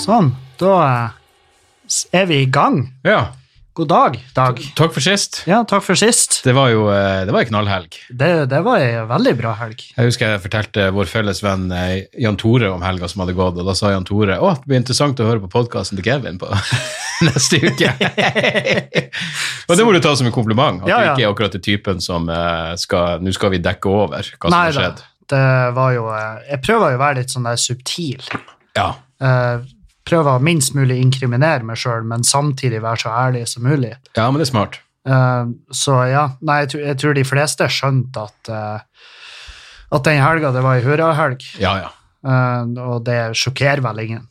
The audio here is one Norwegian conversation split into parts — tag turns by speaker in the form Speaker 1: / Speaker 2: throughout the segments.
Speaker 1: Sånn. Da eh, er vi i gang.
Speaker 2: Ja.
Speaker 1: God dag, Dag.
Speaker 2: Takk for sist.
Speaker 1: Ja, takk for sist.
Speaker 2: Det var jo eh, det var en knallhelg.
Speaker 1: Det, det var ei veldig bra helg.
Speaker 2: Jeg husker jeg fortalte vår felles venn eh, Jan Tore om helga som hadde gått, og da sa Jan Tore å, det blir interessant å høre på podkasten til Kevin på neste uke. og det må du ta som en kompliment, at
Speaker 1: Ja, ja.
Speaker 2: du ikke er akkurat den typen som eh, skal Nå skal vi dekke over hva som har
Speaker 1: da,
Speaker 2: skjedd.
Speaker 1: det var jo eh, Jeg prøver jo å være litt sånn der subtil.
Speaker 2: Ja.
Speaker 1: Eh, Prøver å minst mulig inkriminere meg sjøl, men samtidig være så ærlig som mulig.
Speaker 2: ja, men det er smart.
Speaker 1: Eh, Så ja, nei, jeg tror, jeg tror de fleste skjønte at eh, at den helga, det var ei hurrahelg,
Speaker 2: Ja, ja.
Speaker 1: Eh, og det sjokkerer vel ingen.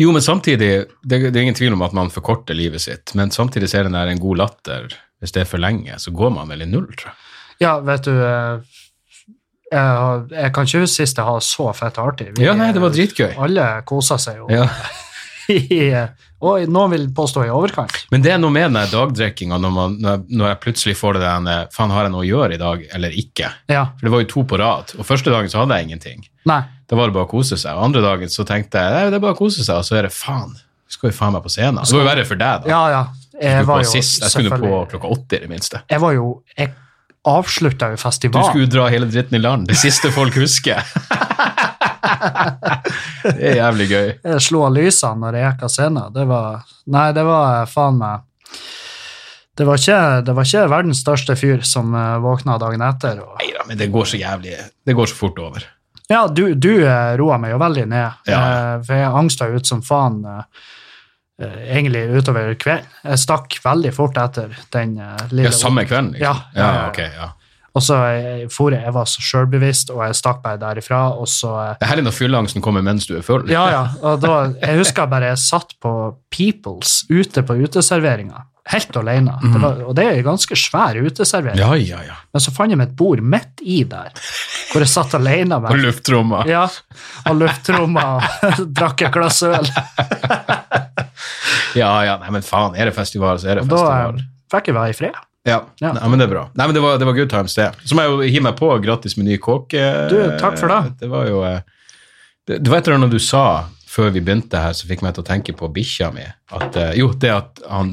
Speaker 2: Jo, men samtidig, det, det er ingen tvil om at man forkorter livet sitt, men samtidig ser den der en god latter. Hvis det er for lenge, så går man vel i null, tror jeg.
Speaker 1: Ja, vet du eh, Jeg, har- jeg kan ikke huske sist jeg har så fett artig. Vi-
Speaker 2: Ja, nei, det var dritgøy.
Speaker 1: Alle kosa seg jo.
Speaker 2: Ja.
Speaker 1: I, eh, og noen vil påstå i overkant.
Speaker 2: Men det er noe med den der dagdrikkinga når, man- når, jeg- når jeg plutselig får det der eh, Faen, har jeg noe å gjøre i dag, eller ikke?
Speaker 1: Ja.
Speaker 2: For det var jo to på rad, og første dagen så hadde jeg ingenting.
Speaker 1: Nei.
Speaker 2: Da var det bare å kose seg. Og andre dagen så tenkte jeg nei, det er bare å kose seg, og så er det faen. Skal jo faen meg på scenen. Det var jo verre for deg, da.
Speaker 1: Ja, ja.
Speaker 2: jeg,
Speaker 1: Jeg var jo
Speaker 2: skulle på sist. jeg skulle på
Speaker 1: selvfølgelig
Speaker 2: klokka åtte, i det minste.
Speaker 1: Jeg var jo Jeg avslutta jo
Speaker 2: Du
Speaker 1: festivalen.
Speaker 2: skulle jo dra hele dritten i land. Det siste folk husker. det er jævlig gøy.
Speaker 1: Jeg slo av lysene når jeg gikk av scenen. Det var Nei, det var eh, faen meg det var, ikke, det var ikke verdens største fyr som eh, våkna dagen etter. Og,
Speaker 2: Nei da, men det går så jævlig Det går så fort over.
Speaker 1: Ja, du, du eh, roa meg jo veldig ned,
Speaker 2: Ja.
Speaker 1: eh, for jeg angsta jo ut som faen eh, eh, egentlig utover kvelden. Jeg stakk veldig fort etter den eh, lille
Speaker 2: Ja, samme kvelden, liksom.
Speaker 1: Ja, ja, ja, ja.
Speaker 2: ok, ja.
Speaker 1: Og så eh, for jeg, jeg var så sjølbevisst, og jeg stakk bare derifra, og så eh,
Speaker 2: Det er herlig når fylleangsten kommer mens du er full.
Speaker 1: Ja, ja. Og da, jeg husker bare jeg satt på Peoples ute på uteserveringa, helt alene. Det var, og det er en ganske svær uteservering.
Speaker 2: Mhm. ja, ja. ja.
Speaker 1: Men så fant jeg meg et bord midt i der, hvor jeg satt alene. med
Speaker 2: På luftrommet.
Speaker 1: Ja, og lufttromma og drakk et glass øl.
Speaker 2: Ja, ja, nei, men faen, er det festival, så er det
Speaker 1: Og da
Speaker 2: festival.
Speaker 1: eh, fikk jeg være i fred.
Speaker 2: Ja,
Speaker 1: ja.
Speaker 2: Nei, men det er bra. Nei, men det var, det var good times, det. Så må jeg jo hive meg på grattis med ny kåk. eh,
Speaker 1: Du, takk for det.
Speaker 2: Det var jo eh, Det, det var et eller annet du sa før vi begynte her, som fikk meg til å tenke på bikkja mi. At, eh, jo, det at han,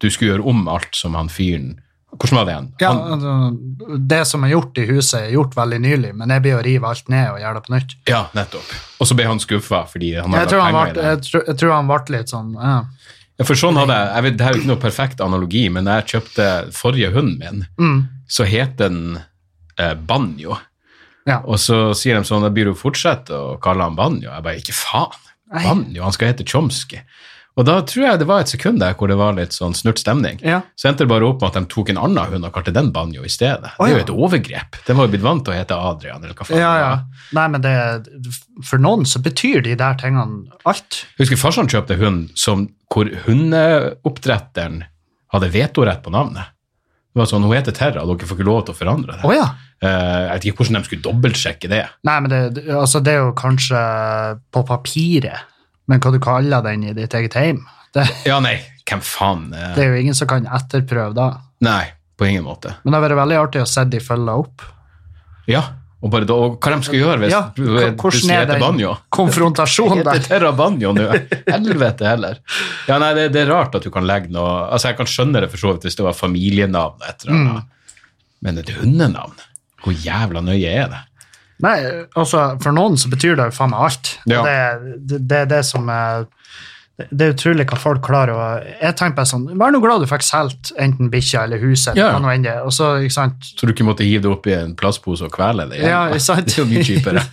Speaker 2: du skulle gjøre om alt som han fyren Hvordan var det igjen?
Speaker 1: Ja,
Speaker 2: Han,
Speaker 1: altså, det som er gjort i huset, er gjort veldig nylig, men jeg blir å rive alt ned og gjøre det på nytt.
Speaker 2: ja, nettopp. Og så ble han skuffa fordi han
Speaker 1: Jeg
Speaker 2: hadde
Speaker 1: tror han,
Speaker 2: penger i
Speaker 1: ble,
Speaker 2: det.
Speaker 1: jeg, tror, jeg tror han ble litt sånn ja.
Speaker 2: Ja, for sånn hadde jeg, jeg vet, Det her er jo ikke noe perfekt analogi, men da jeg kjøpte forrige hunden min,
Speaker 1: Mm.
Speaker 2: så het den eh, Banjo.
Speaker 1: Ja.
Speaker 2: Og så sier de sånn, da blir du fortsette å kalle han Banjo. Jeg bare, ikke faen. Banjo, han skal hete Chomsky. Og da tror jeg det var et sekund der hvor det var litt sånn snurt stemning.
Speaker 1: Ja.
Speaker 2: Så endte det bare opp med at de tok en annen hund og kalte den Banjo i stedet.
Speaker 1: Å,
Speaker 2: Det er
Speaker 1: ja.
Speaker 2: jo et overgrep. Den var jo blitt vant til å hete Adrian, eller hva faen.
Speaker 1: ja,
Speaker 2: det
Speaker 1: ja.
Speaker 2: var.
Speaker 1: Nei, men det, for noen så betyr de der tingene alt.
Speaker 2: Jeg husker farsan kjøpte hund som, hvor hundeoppdretteren hadde vetorett på navnet. Det var sånn, Hun heter Terra, dere får ikke lov til å forandre det.
Speaker 1: Å ja.
Speaker 2: Eh, jeg vet ikke hvordan de skulle dobbeltsjekke det.
Speaker 1: Nei, men det, altså, det er jo kanskje på papiret, men hva du kaller den i ditt eget hjem, det,
Speaker 2: Ja, nei, hvem faen? eh,
Speaker 1: det er jo ingen som kan etterprøve da.
Speaker 2: Nei, på ingen måte.
Speaker 1: Men det har vært veldig artig å se de følge opp.
Speaker 2: Ja, og bare da, og hva de skal gjøre hvis
Speaker 1: Ja,
Speaker 2: du
Speaker 1: hva- hvordan
Speaker 2: plutselig
Speaker 1: er
Speaker 2: heter
Speaker 1: den
Speaker 2: Banjo?
Speaker 1: konfrontasjonen
Speaker 2: Heter
Speaker 1: der?
Speaker 2: Terra Banjo nå? Helvete heller. Ja, nei, det, det er rart at du kan legge noe Altså, jeg kan skjønne det for så vidt hvis det var familienavn og et eller
Speaker 1: Mm.
Speaker 2: annet, men et hundenavn? Hvor jævla nøye er det?
Speaker 1: Nei, altså, for noen så betyr det jo faen meg alt.
Speaker 2: Ja.
Speaker 1: Det, det, det er det som er det er utrolig hva folk klarer å Jeg tenker bare sånn Vær nå glad du fikk solgt enten bikkja eller huset,
Speaker 2: Ja,
Speaker 1: eller
Speaker 2: ja.
Speaker 1: hva nå enn det er. Og så, ikke sant
Speaker 2: Så du ikke måtte hive det opp i en plastpose og kvele det? igjen,
Speaker 1: Ja,
Speaker 2: da.
Speaker 1: ikke sant?
Speaker 2: Det er jo mye kjipere.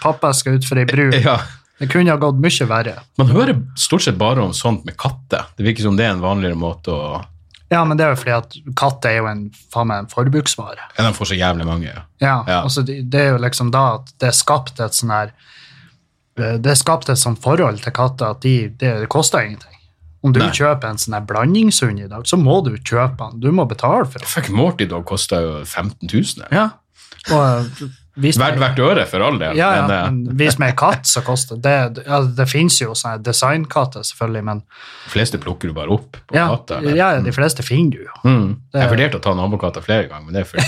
Speaker 1: Pappa skal ut for ei bru.
Speaker 2: Ja.
Speaker 1: Det kunne ha gått mye verre.
Speaker 2: Man hører stort sett bare om sånt med katter. Det virker som det er en vanligere måte å
Speaker 1: Ja, men det er jo fordi at katt er jo en faen meg en forbruksvare.
Speaker 2: Ja, de får så jævlig mange. ja.
Speaker 1: Ja,
Speaker 2: Ja.
Speaker 1: altså det, det er jo liksom da at det er skapt et sånn her eh, Det er skapt et sånt forhold til katter at de, det, det koster ingenting. Om du
Speaker 2: Nei.
Speaker 1: kjøper en sånn her blandingshund i dag, så må du kjøpe den. Du må betale for den.
Speaker 2: Fuck, Morty Dog kosta jo 15 000. eller?
Speaker 1: Ja. Og eh, vis
Speaker 2: Verdt hvert øre, for all del.
Speaker 1: ja, ja,
Speaker 2: men, eh,
Speaker 1: men vis meg en katt som koster Det, det- ja, det fins jo sånne her designkatter, selvfølgelig, men
Speaker 2: eh, de fleste plukker du bare opp på
Speaker 1: ja,
Speaker 2: katter. eller?
Speaker 1: ja, de fleste finner du jo.
Speaker 2: Mm. Jeg
Speaker 1: Det-
Speaker 2: vurderte å ta nabokatter flere ganger, men det er for,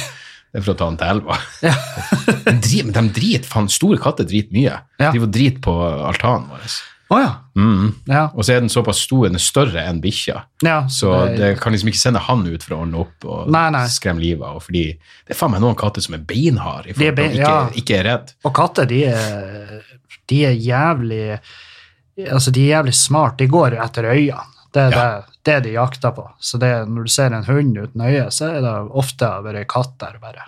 Speaker 2: det er for å ta den til elva. De dri- men de driter, faen, store katter driter mye.
Speaker 1: Ja.
Speaker 2: De får drit på altanen vår.
Speaker 1: Å ja.
Speaker 2: Mm.
Speaker 1: ja.
Speaker 2: Og så er den såpass stor, den er større enn bikkja.
Speaker 1: Ja,
Speaker 2: Så det kan liksom ikke sende han ut for å ordne opp og
Speaker 1: Nei, nei.
Speaker 2: skremme livet av. Fordi det er faen meg noen katter som er beinharde i
Speaker 1: De er
Speaker 2: forhold til å
Speaker 1: bein-
Speaker 2: ikke,
Speaker 1: ja.
Speaker 2: ikke er redd.
Speaker 1: Og katter, de er, de er jævlig Altså, de er jævlig smart. De går etter øynene. Det er
Speaker 2: Ja.
Speaker 1: det, det de jakter på. Så det, når du ser en hund uten øye, så er det ofte bare en katt der. bare.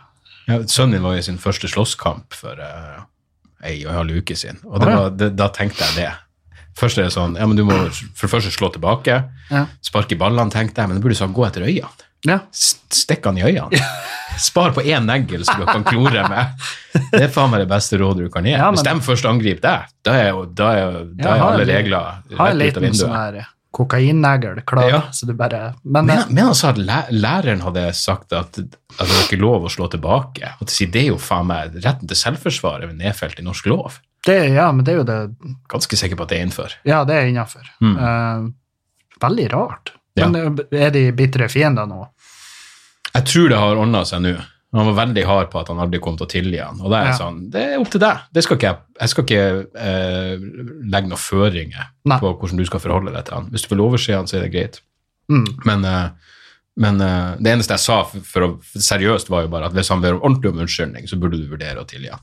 Speaker 2: Ja, sønnen min var i sin første slåsskamp for eh, ei og en halv uke siden, og det
Speaker 1: Å, ja.
Speaker 2: var, det, da tenkte jeg det. Først er det sånn, ja, men du må for det første slå tilbake,
Speaker 1: Ja.
Speaker 2: sparke i ballene, tenkte jeg, men du burde sånn gå etter øynene.
Speaker 1: Ja.
Speaker 2: St- Stikk han i øynene. Spar på én negl som du kan klore med. Det er faen meg det beste rådet du kan gi.
Speaker 1: Ja, men-
Speaker 2: Hvis de først angriper deg, da er, jo- da er, jo- da
Speaker 1: Ja,
Speaker 2: er
Speaker 1: ha en
Speaker 2: alle
Speaker 1: liten-
Speaker 2: regler
Speaker 1: Har en
Speaker 2: rett ut av
Speaker 1: liten sånn
Speaker 2: vinduet.
Speaker 1: her kokainnegl klar,
Speaker 2: Ja.
Speaker 1: så du bare Men,
Speaker 2: Men, men han sa at læ- læreren hadde sagt at, at det var ikke lov å slå tilbake. Og til å si, det er jo faen meg retten til selvforsvar er nedfelt i norsk lov.
Speaker 1: det, ja, men det er jo det
Speaker 2: Ganske sikker på at det er innenfor.
Speaker 1: Ja, det er innafor.
Speaker 2: Mm.
Speaker 1: veldig rart.
Speaker 2: Ja.
Speaker 1: Men eh, er de bitre fiender nå?
Speaker 2: Jeg tror det har ordna seg nå. Han var veldig hard på at han aldri kom til å tilgi han. Og det er jeg
Speaker 1: Ja.
Speaker 2: sånn, det er opp til deg. Det skal ikke jeg, jeg skal ikke eh, legge noen føringer
Speaker 1: Nei.
Speaker 2: på hvordan du skal forholde deg til han. Hvis du vil overse han, så er det greit.
Speaker 1: Mm.
Speaker 2: Men, eh, men eh, det eneste jeg sa for, for å, seriøst, var jo bare at hvis han ber ordentlig om unnskyldning, så burde du vurdere å tilgi han.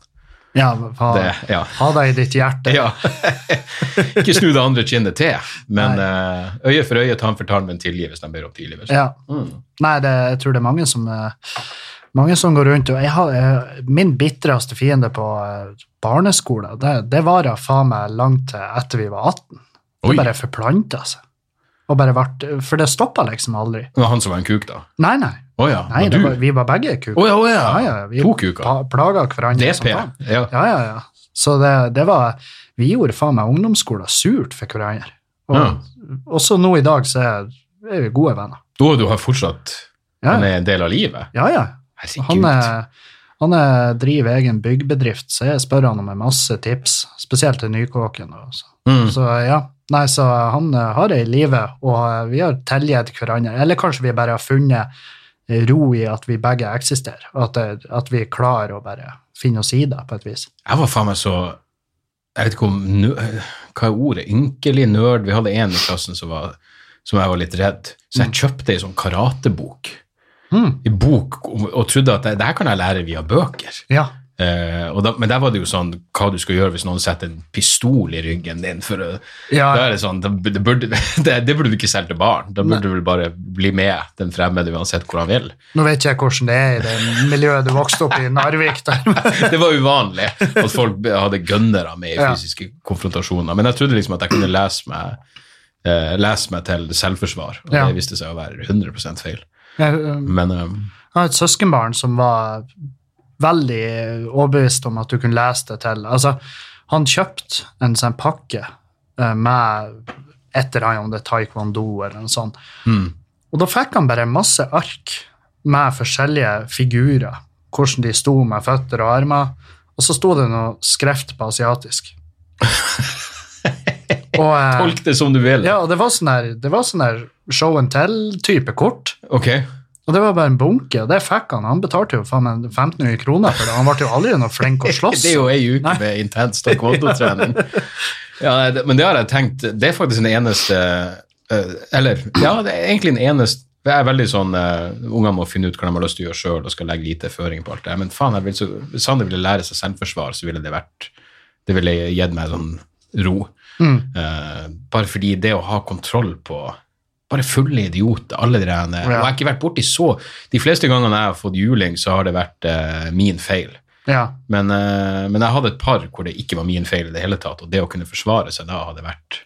Speaker 1: Ja, ha,
Speaker 2: Det, ja.
Speaker 1: ha deg i ditt hjerte.
Speaker 2: Ja. ikke snu det andre kinnet til, men eh, øye for øye, tann for tann, men tilgi hvis de ber om tilgivelse.
Speaker 1: Ja.
Speaker 2: Mm.
Speaker 1: Nei, det, jeg tror det er mange som, eh, mange som går rundt og jeg har, eh, Min bitreste fiende på eh, barneskolen, det, det vara faen meg langt til etter vi var 18.
Speaker 2: Oi.
Speaker 1: Det bare forplanta seg. Og bare vart, for det stoppa liksom aldri.
Speaker 2: Det var han som var en kuk, da.
Speaker 1: Nei, nei.
Speaker 2: Å ja.
Speaker 1: nei
Speaker 2: og
Speaker 1: det
Speaker 2: du?
Speaker 1: var, vi var begge kuker.
Speaker 2: Å ja, å ja.
Speaker 1: Ja, ja, vi
Speaker 2: To kuker.
Speaker 1: pa- plaga hverandre. som
Speaker 2: DP.
Speaker 1: faen.
Speaker 2: Ja.
Speaker 1: Ja, ja, ja. Så det, det var Vi gjorde faen meg ungdomsskolen surt for hverandre. Og,
Speaker 2: Ja.
Speaker 1: Også nå i dag så er er vi gode venner.
Speaker 2: Da du har fortsatt
Speaker 1: Ja,
Speaker 2: Han er en del av livet?
Speaker 1: ja. ja. Han,
Speaker 2: Herregud.
Speaker 1: er, han er, driver egen byggbedrift, så jeg spør han om en masse tips, spesielt til Nykåken. Og så.
Speaker 2: Mm.
Speaker 1: så ja, nei, så han eh, har det i live, og eh, vi har tilgitt hverandre. Eller kanskje vi bare har funnet eh, ro i at vi begge eksisterer, at, det- at vi klarer å bare finne oss i det på et vis.
Speaker 2: Jeg var faen meg så Jeg vet ikke om nø, Hva er ordet? Ynkelig nerd. Vi hadde en i klassen som, var, som jeg var litt redd, så jeg kjøpte ei sånn karatebok.
Speaker 1: Mm.
Speaker 2: I bok, om- og trodde at det, det her kan jeg lære via bøker.
Speaker 1: Ja,
Speaker 2: Eh, og da, men der var det jo sånn hva du skal gjøre hvis noen setter en pistol i ryggen din. for å,
Speaker 1: ja,
Speaker 2: da er Det sånn, da bu- det burde, det, det burde du ikke selge til barn. Da burde
Speaker 1: Nei.
Speaker 2: du vel bare bli med den fremmede uansett hvor han vil.
Speaker 1: Nå vet ikke jeg hvordan det er i det miljøet du vokste opp i, Narvik. der.
Speaker 2: Det var uvanlig at folk hadde gønnere med i
Speaker 1: Ja.
Speaker 2: fysiske konfrontasjoner. Men jeg trodde liksom at jeg kunne lese meg, eh, lese meg til selvforsvar, og
Speaker 1: Ja.
Speaker 2: det viste seg å være 100 feil.
Speaker 1: Jeg um,
Speaker 2: Men eh,
Speaker 1: jeg har et søskenbarn som var veldig overbevist om at du kunne lese det til. Altså, han kjøpte en sånn pakke eh, med et eller annet, om det er taekwondo eller noe sånt.
Speaker 2: mm,
Speaker 1: Og da fikk han bare masse ark med forskjellige figurer, hvordan de sto med føtter og armer, og så sto det noe skreft på asiatisk. Og, eh,
Speaker 2: tolk det som du vil.
Speaker 1: Ja, og det var sånn der, det var sånn der show and tell-type kort.
Speaker 2: Ok.
Speaker 1: Og det var bare en bunke, og det fikk han. Han betalte jo faen meg 1500 kroner for det. Han ble jo aldri noe flink å slåss.
Speaker 2: Det er jo ei uke med intens taekwondo-trening. Ja, nei, det- men det har jeg tenkt Det er faktisk den eneste eh, Eller ja, det er egentlig den eneste jeg er veldig sånn, eh, Ungene må finne ut hva de har lyst til å gjøre sjøl og skal legge lite føringer på alt det. Men faen, jeg vil så, hvis Sander ville lære seg selvforsvar, så ville det vært Det ville gitt meg sånn ro.
Speaker 1: Mm.
Speaker 2: Eh, bare fordi det å ha kontroll på bare fulle idioter, alle de der eh, Og jeg har ikke vært borti så De fleste gangene jeg har fått juling, så har det vært eh, min feil.
Speaker 1: Ja.
Speaker 2: Men, eh, men jeg hadde et par hvor det ikke var min feil i det hele tatt, og det å kunne forsvare seg da hadde vært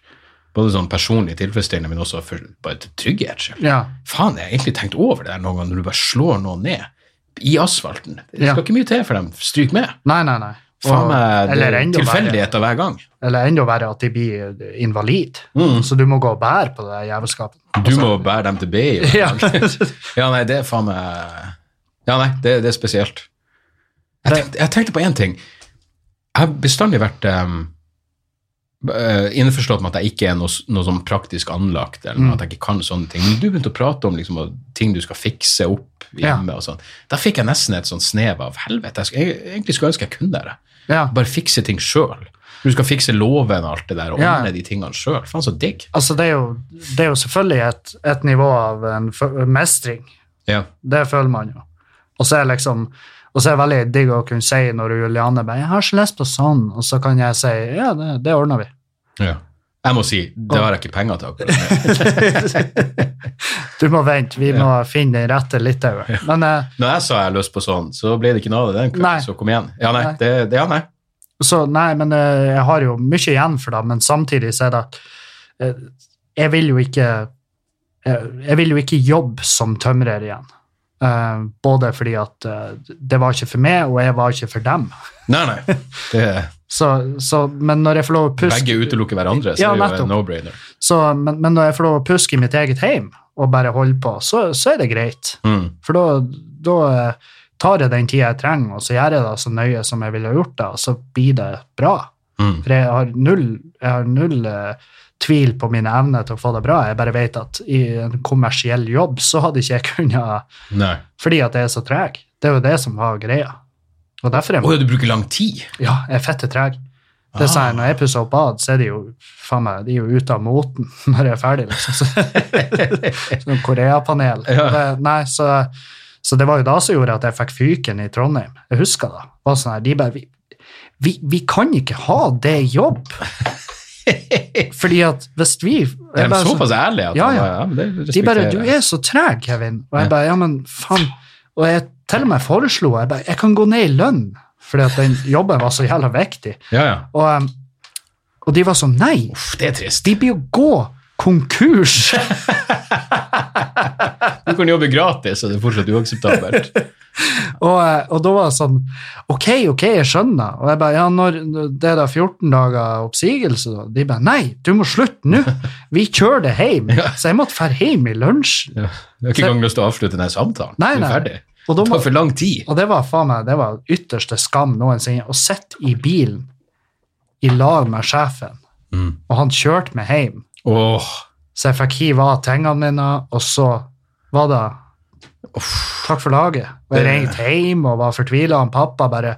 Speaker 2: både sånn personlig tilfredsstillende, men også for, bare til trygghetsskyld.
Speaker 1: ja.
Speaker 2: Faen, jeg har egentlig tenkt over det der noen ganger, når du bare slår noen ned i asfalten. Det skal
Speaker 1: Ja.
Speaker 2: ikke mye til for dem. Stryk med.
Speaker 1: Nei, nei, nei. Og-
Speaker 2: Faen meg det
Speaker 1: eller
Speaker 2: er
Speaker 1: enda verre-
Speaker 2: tilfeldigheter hver gang.
Speaker 1: Eller enda verre at de blir invalid.
Speaker 2: Mm.
Speaker 1: Så du må gå og bære på det der jævelskapet. Altså-
Speaker 2: Du må bære dem til BI. hver
Speaker 1: Ja.
Speaker 2: gang. Ja, nei, det er faen meg Ja, nei, det, det er spesielt. Jeg tenkte, jeg tenkte på én ting. Jeg har bestandig vært um, innforstått med at jeg ikke er noe, s- noe sånn praktisk anlagt, eller
Speaker 1: Mm.
Speaker 2: at jeg ikke kan sånne ting. Men du begynte å prate om liksom, og ting du skal fikse opp hjemme. og sånn. Da fikk jeg nesten et sånn snev av helvete. Jeg, skulle- jeg egentlig skulle ønske jeg kunne det.
Speaker 1: ja.
Speaker 2: Bare fikse ting sjøl. Du skal fikse låven og alt det der, og
Speaker 1: Ja.
Speaker 2: ordne de tingene sjøl. Faen, så digg.
Speaker 1: Altså, det er jo, det er jo selvfølgelig et, et nivå av en f- mestring.
Speaker 2: Ja.
Speaker 1: Det føler man jo. Og så er liksom og så er det veldig digg å kunne si når Juliane bare 'Jeg har ikke lyst på sånn', og så kan jeg si 'Ja, det, det ordner vi'.
Speaker 2: ja. Jeg må si, det har jeg ikke penger til akkurat nå.
Speaker 1: Du må vente, vi må finne den rette Litauen. Men eh,
Speaker 2: Når jeg sa jeg har lyst på sånn, så ble det ikke noe av det den
Speaker 1: Nei.
Speaker 2: kvelden, så kom igjen. Ja, nei,
Speaker 1: Nei.
Speaker 2: det, det, ja, nei.
Speaker 1: Så nei, men eh, jeg har jo mye igjen for det, men samtidig så er det at eh, jeg vil jo ikke jeg, jeg vil jo ikke jobbe som tømrer igjen. Eh, både fordi at eh, det var ikke for meg, og jeg var ikke for dem.
Speaker 2: Nei, nei. Det,
Speaker 1: Så, så, men når jeg får lov å puske,
Speaker 2: begge utelukker hverandre, så
Speaker 1: Ja,
Speaker 2: det er jo
Speaker 1: nettopp.
Speaker 2: en no-brainer.
Speaker 1: så, men, men når jeg får lov å puske i mitt eget hjem og bare holde på, så, så er det greit.
Speaker 2: Mm.
Speaker 1: For da, da eh, tar jeg den tida jeg trenger, og så gjør jeg det så nøye som jeg ville ha gjort det, og så blir det bra.
Speaker 2: Mm.
Speaker 1: For jeg har null, jeg har null eh, tvil på mine evner til å få det bra. Jeg bare vet at i en kommersiell jobb så hadde ikke jeg kunnet
Speaker 2: Nei.
Speaker 1: Fordi at jeg er så treg. Det er jo det som var greia. Og derfor er
Speaker 2: Å ja, du bruker lang tid?
Speaker 1: ja, jeg er fette treg. Det sa jeg når jeg pusser opp bad, så er de jo faen meg, de er jo ute av moten når jeg er ferdig. liksom. Så- Sånn Koreapanel.
Speaker 2: Ja.
Speaker 1: Det- Nei, så, så det var jo da som gjorde at jeg fikk fyken i Trondheim. Jeg husker det. Det Var sånn her, de bare, vi, vi, vi kan ikke ha det i jobb! Fordi at hvis vi jeg
Speaker 2: Er de
Speaker 1: bare sånn-
Speaker 2: såpass ærlige? At
Speaker 1: Ja, ja.
Speaker 2: men det
Speaker 1: de bare
Speaker 2: respekterer
Speaker 1: 'Du
Speaker 2: jeg.
Speaker 1: er så treg, Kevin.' Og
Speaker 2: Ja.
Speaker 1: jeg bare 'Ja, men faen.' Og jeg til og med foreslo jeg bare, jeg kan gå ned i lønn, fordi at den jobben var så jævla viktig.
Speaker 2: Ja, ja.
Speaker 1: Og, um, og de var sånn Nei,
Speaker 2: Uff, det er trist.
Speaker 1: de blir jo gå konkurs!
Speaker 2: Du kan jobbe gratis, og det er fortsatt uakseptabelt.
Speaker 1: og, eh, og da var det sånn Ok, ok, jeg skjønner. Og jeg bare Ja, når det er da 14 dager oppsigelse, da? De bare Nei, du må slutte nå! Vi kjører det hjem! Så jeg måtte dra hjem i lunsjen.
Speaker 2: Ja. Jeg har ikke engang lyst til å avslutte denne samtalen.
Speaker 1: Nei,
Speaker 2: du
Speaker 1: nei.
Speaker 2: er ferdig.
Speaker 1: Og, da
Speaker 2: Det
Speaker 1: må,
Speaker 2: tar for lang tid.
Speaker 1: og det var faen meg det var ytterste skam noensinne. Å sitte i bilen i lag med sjefen,
Speaker 2: Mm.
Speaker 1: og han kjørte meg hjem.
Speaker 2: Åh,
Speaker 1: Så jeg fikk hive av tingene mine, og så var det Takk for laget. Og jeg ringte hjem og var fortvila. Han pappa bare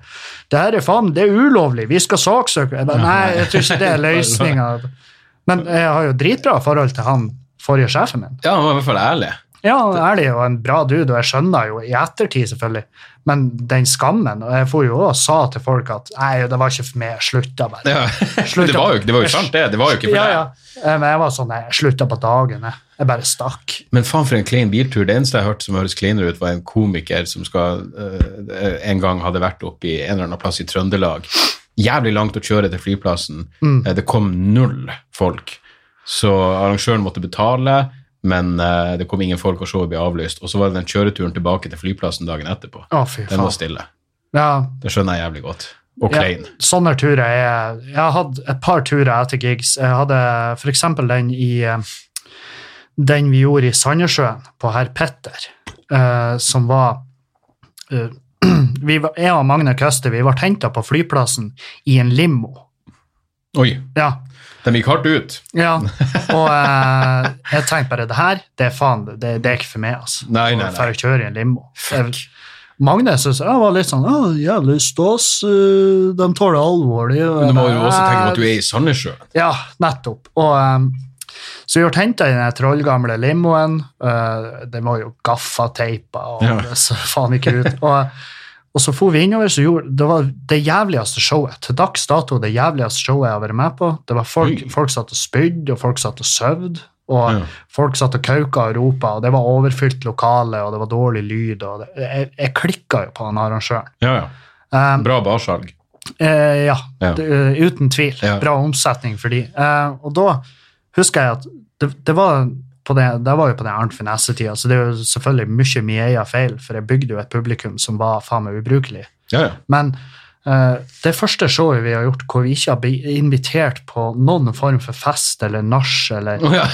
Speaker 1: 'Det her er faen, det er ulovlig. Vi skal saksøke.' Jeg bare, Nei, jeg tror ikke det er løsninga. Men jeg har jo dritbra forhold til han forrige sjefen min.
Speaker 2: Ja, han var i hvert fall ærlig.
Speaker 1: Ja, han er ærlig og en bra dude, og jeg skjønner jo i ettertid, selvfølgelig, men den skammen Og jeg for jo også og sa til folk at 'nei, det var ikke for meg. Jeg slutta bare'.
Speaker 2: Ja.
Speaker 1: Slutt
Speaker 2: Det var jo, det var jo sant, det. Det var jo ikke for
Speaker 1: Ja,
Speaker 2: deg.
Speaker 1: ja. Eh, Men jeg var sånn, nei, jeg slutta på dagen. Jeg, jeg bare stakk.
Speaker 2: Men faen for en klein biltur. Det eneste jeg hørte som høres kleinere ut, var en komiker som skal, eh, en gang hadde vært oppe i en eller annen plass i Trøndelag. Jævlig langt å kjøre til flyplassen. Eh, det kom null folk. Så arrangøren måtte betale, men eh, det kom ingen folk, og showet ble avlyst. Og så var det den kjøreturen tilbake til flyplassen dagen etterpå.
Speaker 1: Å, fy
Speaker 2: Den var
Speaker 1: faen.
Speaker 2: stille.
Speaker 1: Ja,
Speaker 2: Det skjønner jeg jævlig godt. Og
Speaker 1: Ja,
Speaker 2: klein.
Speaker 1: sånne turer er Jeg har hatt et par turer etter gigs. Jeg hadde f.eks. den i eh, Den vi gjorde i Sandnessjøen, på herr Petter, eh, som var eh, vi, var- Jeg og Magne Køste vi ble henta på flyplassen i en limo.
Speaker 2: Oi,
Speaker 1: Ja.
Speaker 2: de gikk hardt ut.
Speaker 1: ja. Og eh, jeg tenkte bare det her, det er faen, det, det er ikke for meg, altså.
Speaker 2: Nei, nei, nei.
Speaker 1: For å kjøre i en limo. Jeg- Magne syntes jeg var litt sånn Å, jævlig stas. eh, De tåler alvor, de. Og
Speaker 2: Men
Speaker 1: jeg
Speaker 2: du må jo
Speaker 1: bare,
Speaker 2: også tenke på
Speaker 1: «Æ,
Speaker 2: at du er i Sandnessjøen.
Speaker 1: Ja, nettopp. Og, ehm, så vi ble henta i den trollgamle limoen. eh, den var jo gaffateipa og
Speaker 2: Ja.
Speaker 1: det så faen ikke ut. Og, og så for vi innover, så gjorde det var det jævligste showet. Til dags dato det jævligste showet jeg har vært med på. Det var Folk,
Speaker 2: Oi.
Speaker 1: folk satt og spydde, og folk satt og søvde. Og
Speaker 2: Ja.
Speaker 1: folk satt og kauka og ropa, og det var overfylt lokale, og det var dårlig lyd. Og det, jeg jeg klikka jo på han arrangøren.
Speaker 2: Ja, ja.
Speaker 1: Um,
Speaker 2: Bra barsalg.
Speaker 1: Eh, ja,
Speaker 2: Ja.
Speaker 1: Det, eh, uten tvil.
Speaker 2: Ja.
Speaker 1: Bra omsetning for de. Eh, og da husker jeg at det, det var på det, det var jo på den Arnt Finesse-tida, så det er jo selvfølgelig mye min egen feil, for jeg bygde jo et publikum som var faen meg ubrukelig.
Speaker 2: Ja, ja.
Speaker 1: Men eh, det første showet vi har gjort hvor vi ikke har blitt invitert på noen form for fest eller nach eller
Speaker 2: Å, ja.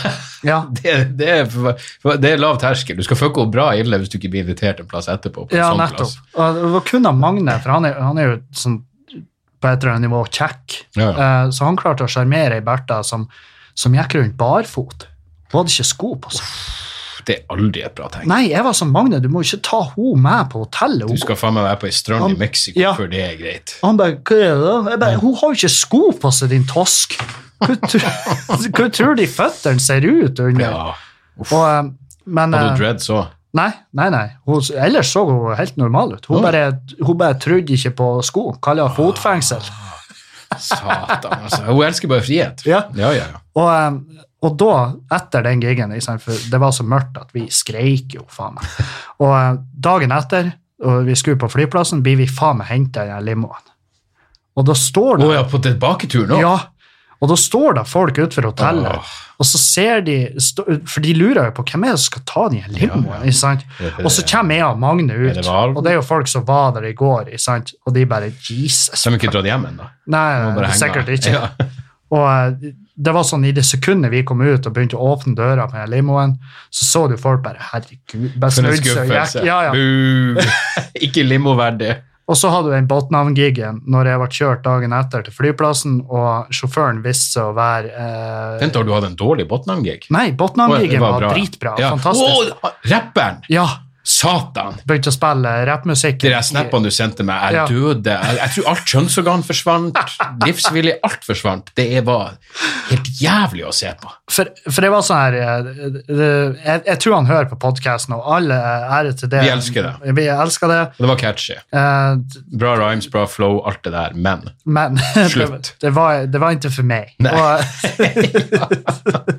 Speaker 1: ja,
Speaker 2: Det, det, er, for- for- det er lav terskel. Du skal fucke opp bra ille hvis du ikke blir invitert en plass etterpå. På en
Speaker 1: Ja,
Speaker 2: sånn
Speaker 1: nettopp.
Speaker 2: Plass.
Speaker 1: Og det var kun av Magne, for han er, han er jo sånn, på et eller annet nivå kjekk.
Speaker 2: Ja,
Speaker 1: Eh, Så han klarte å sjarmere ei Bertha som, som gikk rundt barfot. Hun hadde ikke sko på seg.
Speaker 2: Det er aldri et bra tegn.
Speaker 1: Nei, jeg var som Magne, du må ikke ta henne med på hotellet.
Speaker 2: Du
Speaker 1: Hun,
Speaker 2: skal faen meg være på ei strand i
Speaker 1: Han-
Speaker 2: Mexico
Speaker 1: Ja.
Speaker 2: før det er greit.
Speaker 1: han bare, hva er det da? Jeg bare, hun har jo ikke sko på seg, din tosk. Hva tror, hva tror de føttene ser ut under?
Speaker 2: Ja.
Speaker 1: Og, eh, men,
Speaker 2: Hadde
Speaker 1: eh,
Speaker 2: hun dreads òg?
Speaker 1: Nei, nei, nei. Hun, ellers så hun helt normal ut. Hun,
Speaker 2: Ja. Ah.
Speaker 1: bare, hun bare trodde ikke på sko. Kaller det fotfengsel.
Speaker 2: Satan, altså. Hun elsker bare frihet.
Speaker 1: Ja.
Speaker 2: ja, ja. ja.
Speaker 1: Og, eh, og da, etter den gigen, ikke sant, for det var så mørkt at vi skreik jo, faen meg. Og eh, dagen etter, og vi skulle på flyplassen, blir vi faen meg henta i den limoen. Og da står det
Speaker 2: Å ja, på tilbaketuren òg?
Speaker 1: Ja. Og da står det folk utenfor hotellet, og så ser de stå- For de lurer jo på hvem er det som skal ta den i en limo.
Speaker 2: Ja, ja.
Speaker 1: ikke sant? Og så kommer jeg og Magne
Speaker 2: Er det
Speaker 1: ut,
Speaker 2: hvalp?
Speaker 1: og det er jo folk som var der i går, ikke sant? og de bare Jesus.
Speaker 2: De har ikke dratt hjem ennå.
Speaker 1: Nei,
Speaker 2: Må bare henge.
Speaker 1: Eh, sikkert ikke.
Speaker 2: Ja.
Speaker 1: Og eh, det var sånn, I det sekundet vi kom ut og begynte å åpne døra på den limoen, så så du folk bare Herregud. bare
Speaker 2: For en
Speaker 1: snudde seg og gikk.
Speaker 2: skuffelse.
Speaker 1: Ja, ja.
Speaker 2: Bu. ikke limoverdig.
Speaker 1: Og så hadde du den Botnavn-gigen når jeg ble kjørt dagen etter til flyplassen, og sjåføren viste seg å være eh,
Speaker 2: Vent, har du hatt en dårlig Botnam-gig?
Speaker 1: Nei,
Speaker 2: Å, det
Speaker 1: Botnavn-gigen var,
Speaker 2: bra.
Speaker 1: dritbra.
Speaker 2: Ja.
Speaker 1: Fantastisk.
Speaker 2: Å, rapperen!
Speaker 1: Ja,
Speaker 2: Satan!
Speaker 1: Begynte å spille rappmusikk.
Speaker 2: De der snappene du sendte meg, jeg
Speaker 1: Ja.
Speaker 2: døde. Jeg, jeg tror alt kjønnsorgan forsvant. Livsvillig, alt forsvant. Det er- var helt jævlig å se på.
Speaker 1: For, for det var sånn her eh, det- jeg, jeg tror han hører på podkasten, og alle eh, ære til det.
Speaker 2: Vi elsker det.
Speaker 1: Vi elsker det.
Speaker 2: Og det var catchy.
Speaker 1: eh,
Speaker 2: Bra rhymes, bra flow, alt det der. Men
Speaker 1: Men
Speaker 2: Slutt.
Speaker 1: det, det, var, det var ikke for meg.
Speaker 2: Nei.
Speaker 1: Og,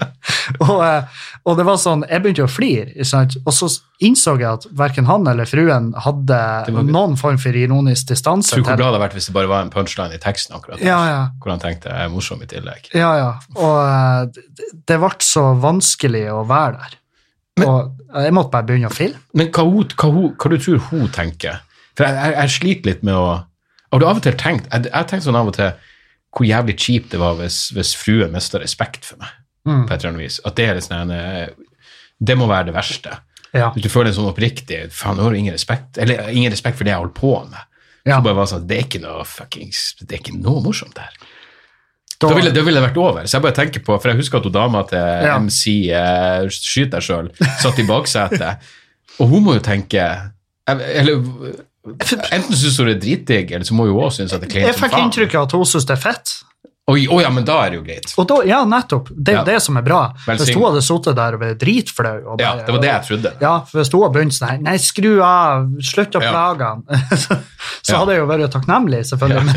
Speaker 1: og, eh, og det var sånn, jeg begynte å flire, ikke sant? og så innså jeg at verken han eller fruen hadde
Speaker 2: Det var-
Speaker 1: noen form for ironisk distanse.
Speaker 2: tror
Speaker 1: til-
Speaker 2: hvor glad det hadde vært hvis det bare var en punchline i teksten akkurat.
Speaker 1: ja, ja.
Speaker 2: Hvor han tenkte jeg er morsom i tillegg.
Speaker 1: Ja, ja. Og eh, det, det ble så vanskelig å være der. og eh, jeg måtte bare begynne å filme.
Speaker 2: Men hva, hun, hva, hun, hva du tror hun tenker? For jeg, jeg, jeg sliter litt med å Har du av og til tenkt Jeg, jeg tenker sånn av og til hvor jævlig kjipt det var hvis, hvis fruen mista respekt for meg.
Speaker 1: Mm.
Speaker 2: på et eller annet vis. At det er litt sånn en, eh, Det må være det verste.
Speaker 1: Ja.
Speaker 2: Hvis du føler en sånn oppriktig Faen, nå har du ingen respekt Eller ingen respekt for det jeg holder på med.
Speaker 1: Ja.
Speaker 2: Så bare var det sånn, Det er ikke noe fuckings Det er ikke noe morsomt her.
Speaker 1: Da-
Speaker 2: Da ville det ville det vært over. Så jeg bare tenker på For jeg husker at hun dama til
Speaker 1: Ja.
Speaker 2: MC eh, Skyt deg sjøl satt i baksetet, og hun må jo tenke Eller Enten syns hun det er dritdigg, eller så må hun òg synes at det er
Speaker 1: jeg
Speaker 2: kleint som
Speaker 1: fikk
Speaker 2: faen.
Speaker 1: inntrykk av at hun syntes det er fett.
Speaker 2: Oi, Å ja, men da er det jo greit.
Speaker 1: Og da, ja, nettopp. Det er jo
Speaker 2: Ja.
Speaker 1: det som er bra. Hvis
Speaker 2: Velsign.
Speaker 1: hun hadde sittet der og vært dritflau og
Speaker 2: Ja,
Speaker 1: bare-
Speaker 2: det var det jeg trodde.
Speaker 1: Ja, for hvis hun hadde begynt sånn her, Nei, skru av, slutt å
Speaker 2: Ja.
Speaker 1: plage han. Så
Speaker 2: Ja.
Speaker 1: hadde jeg jo vært takknemlig, selvfølgelig. Men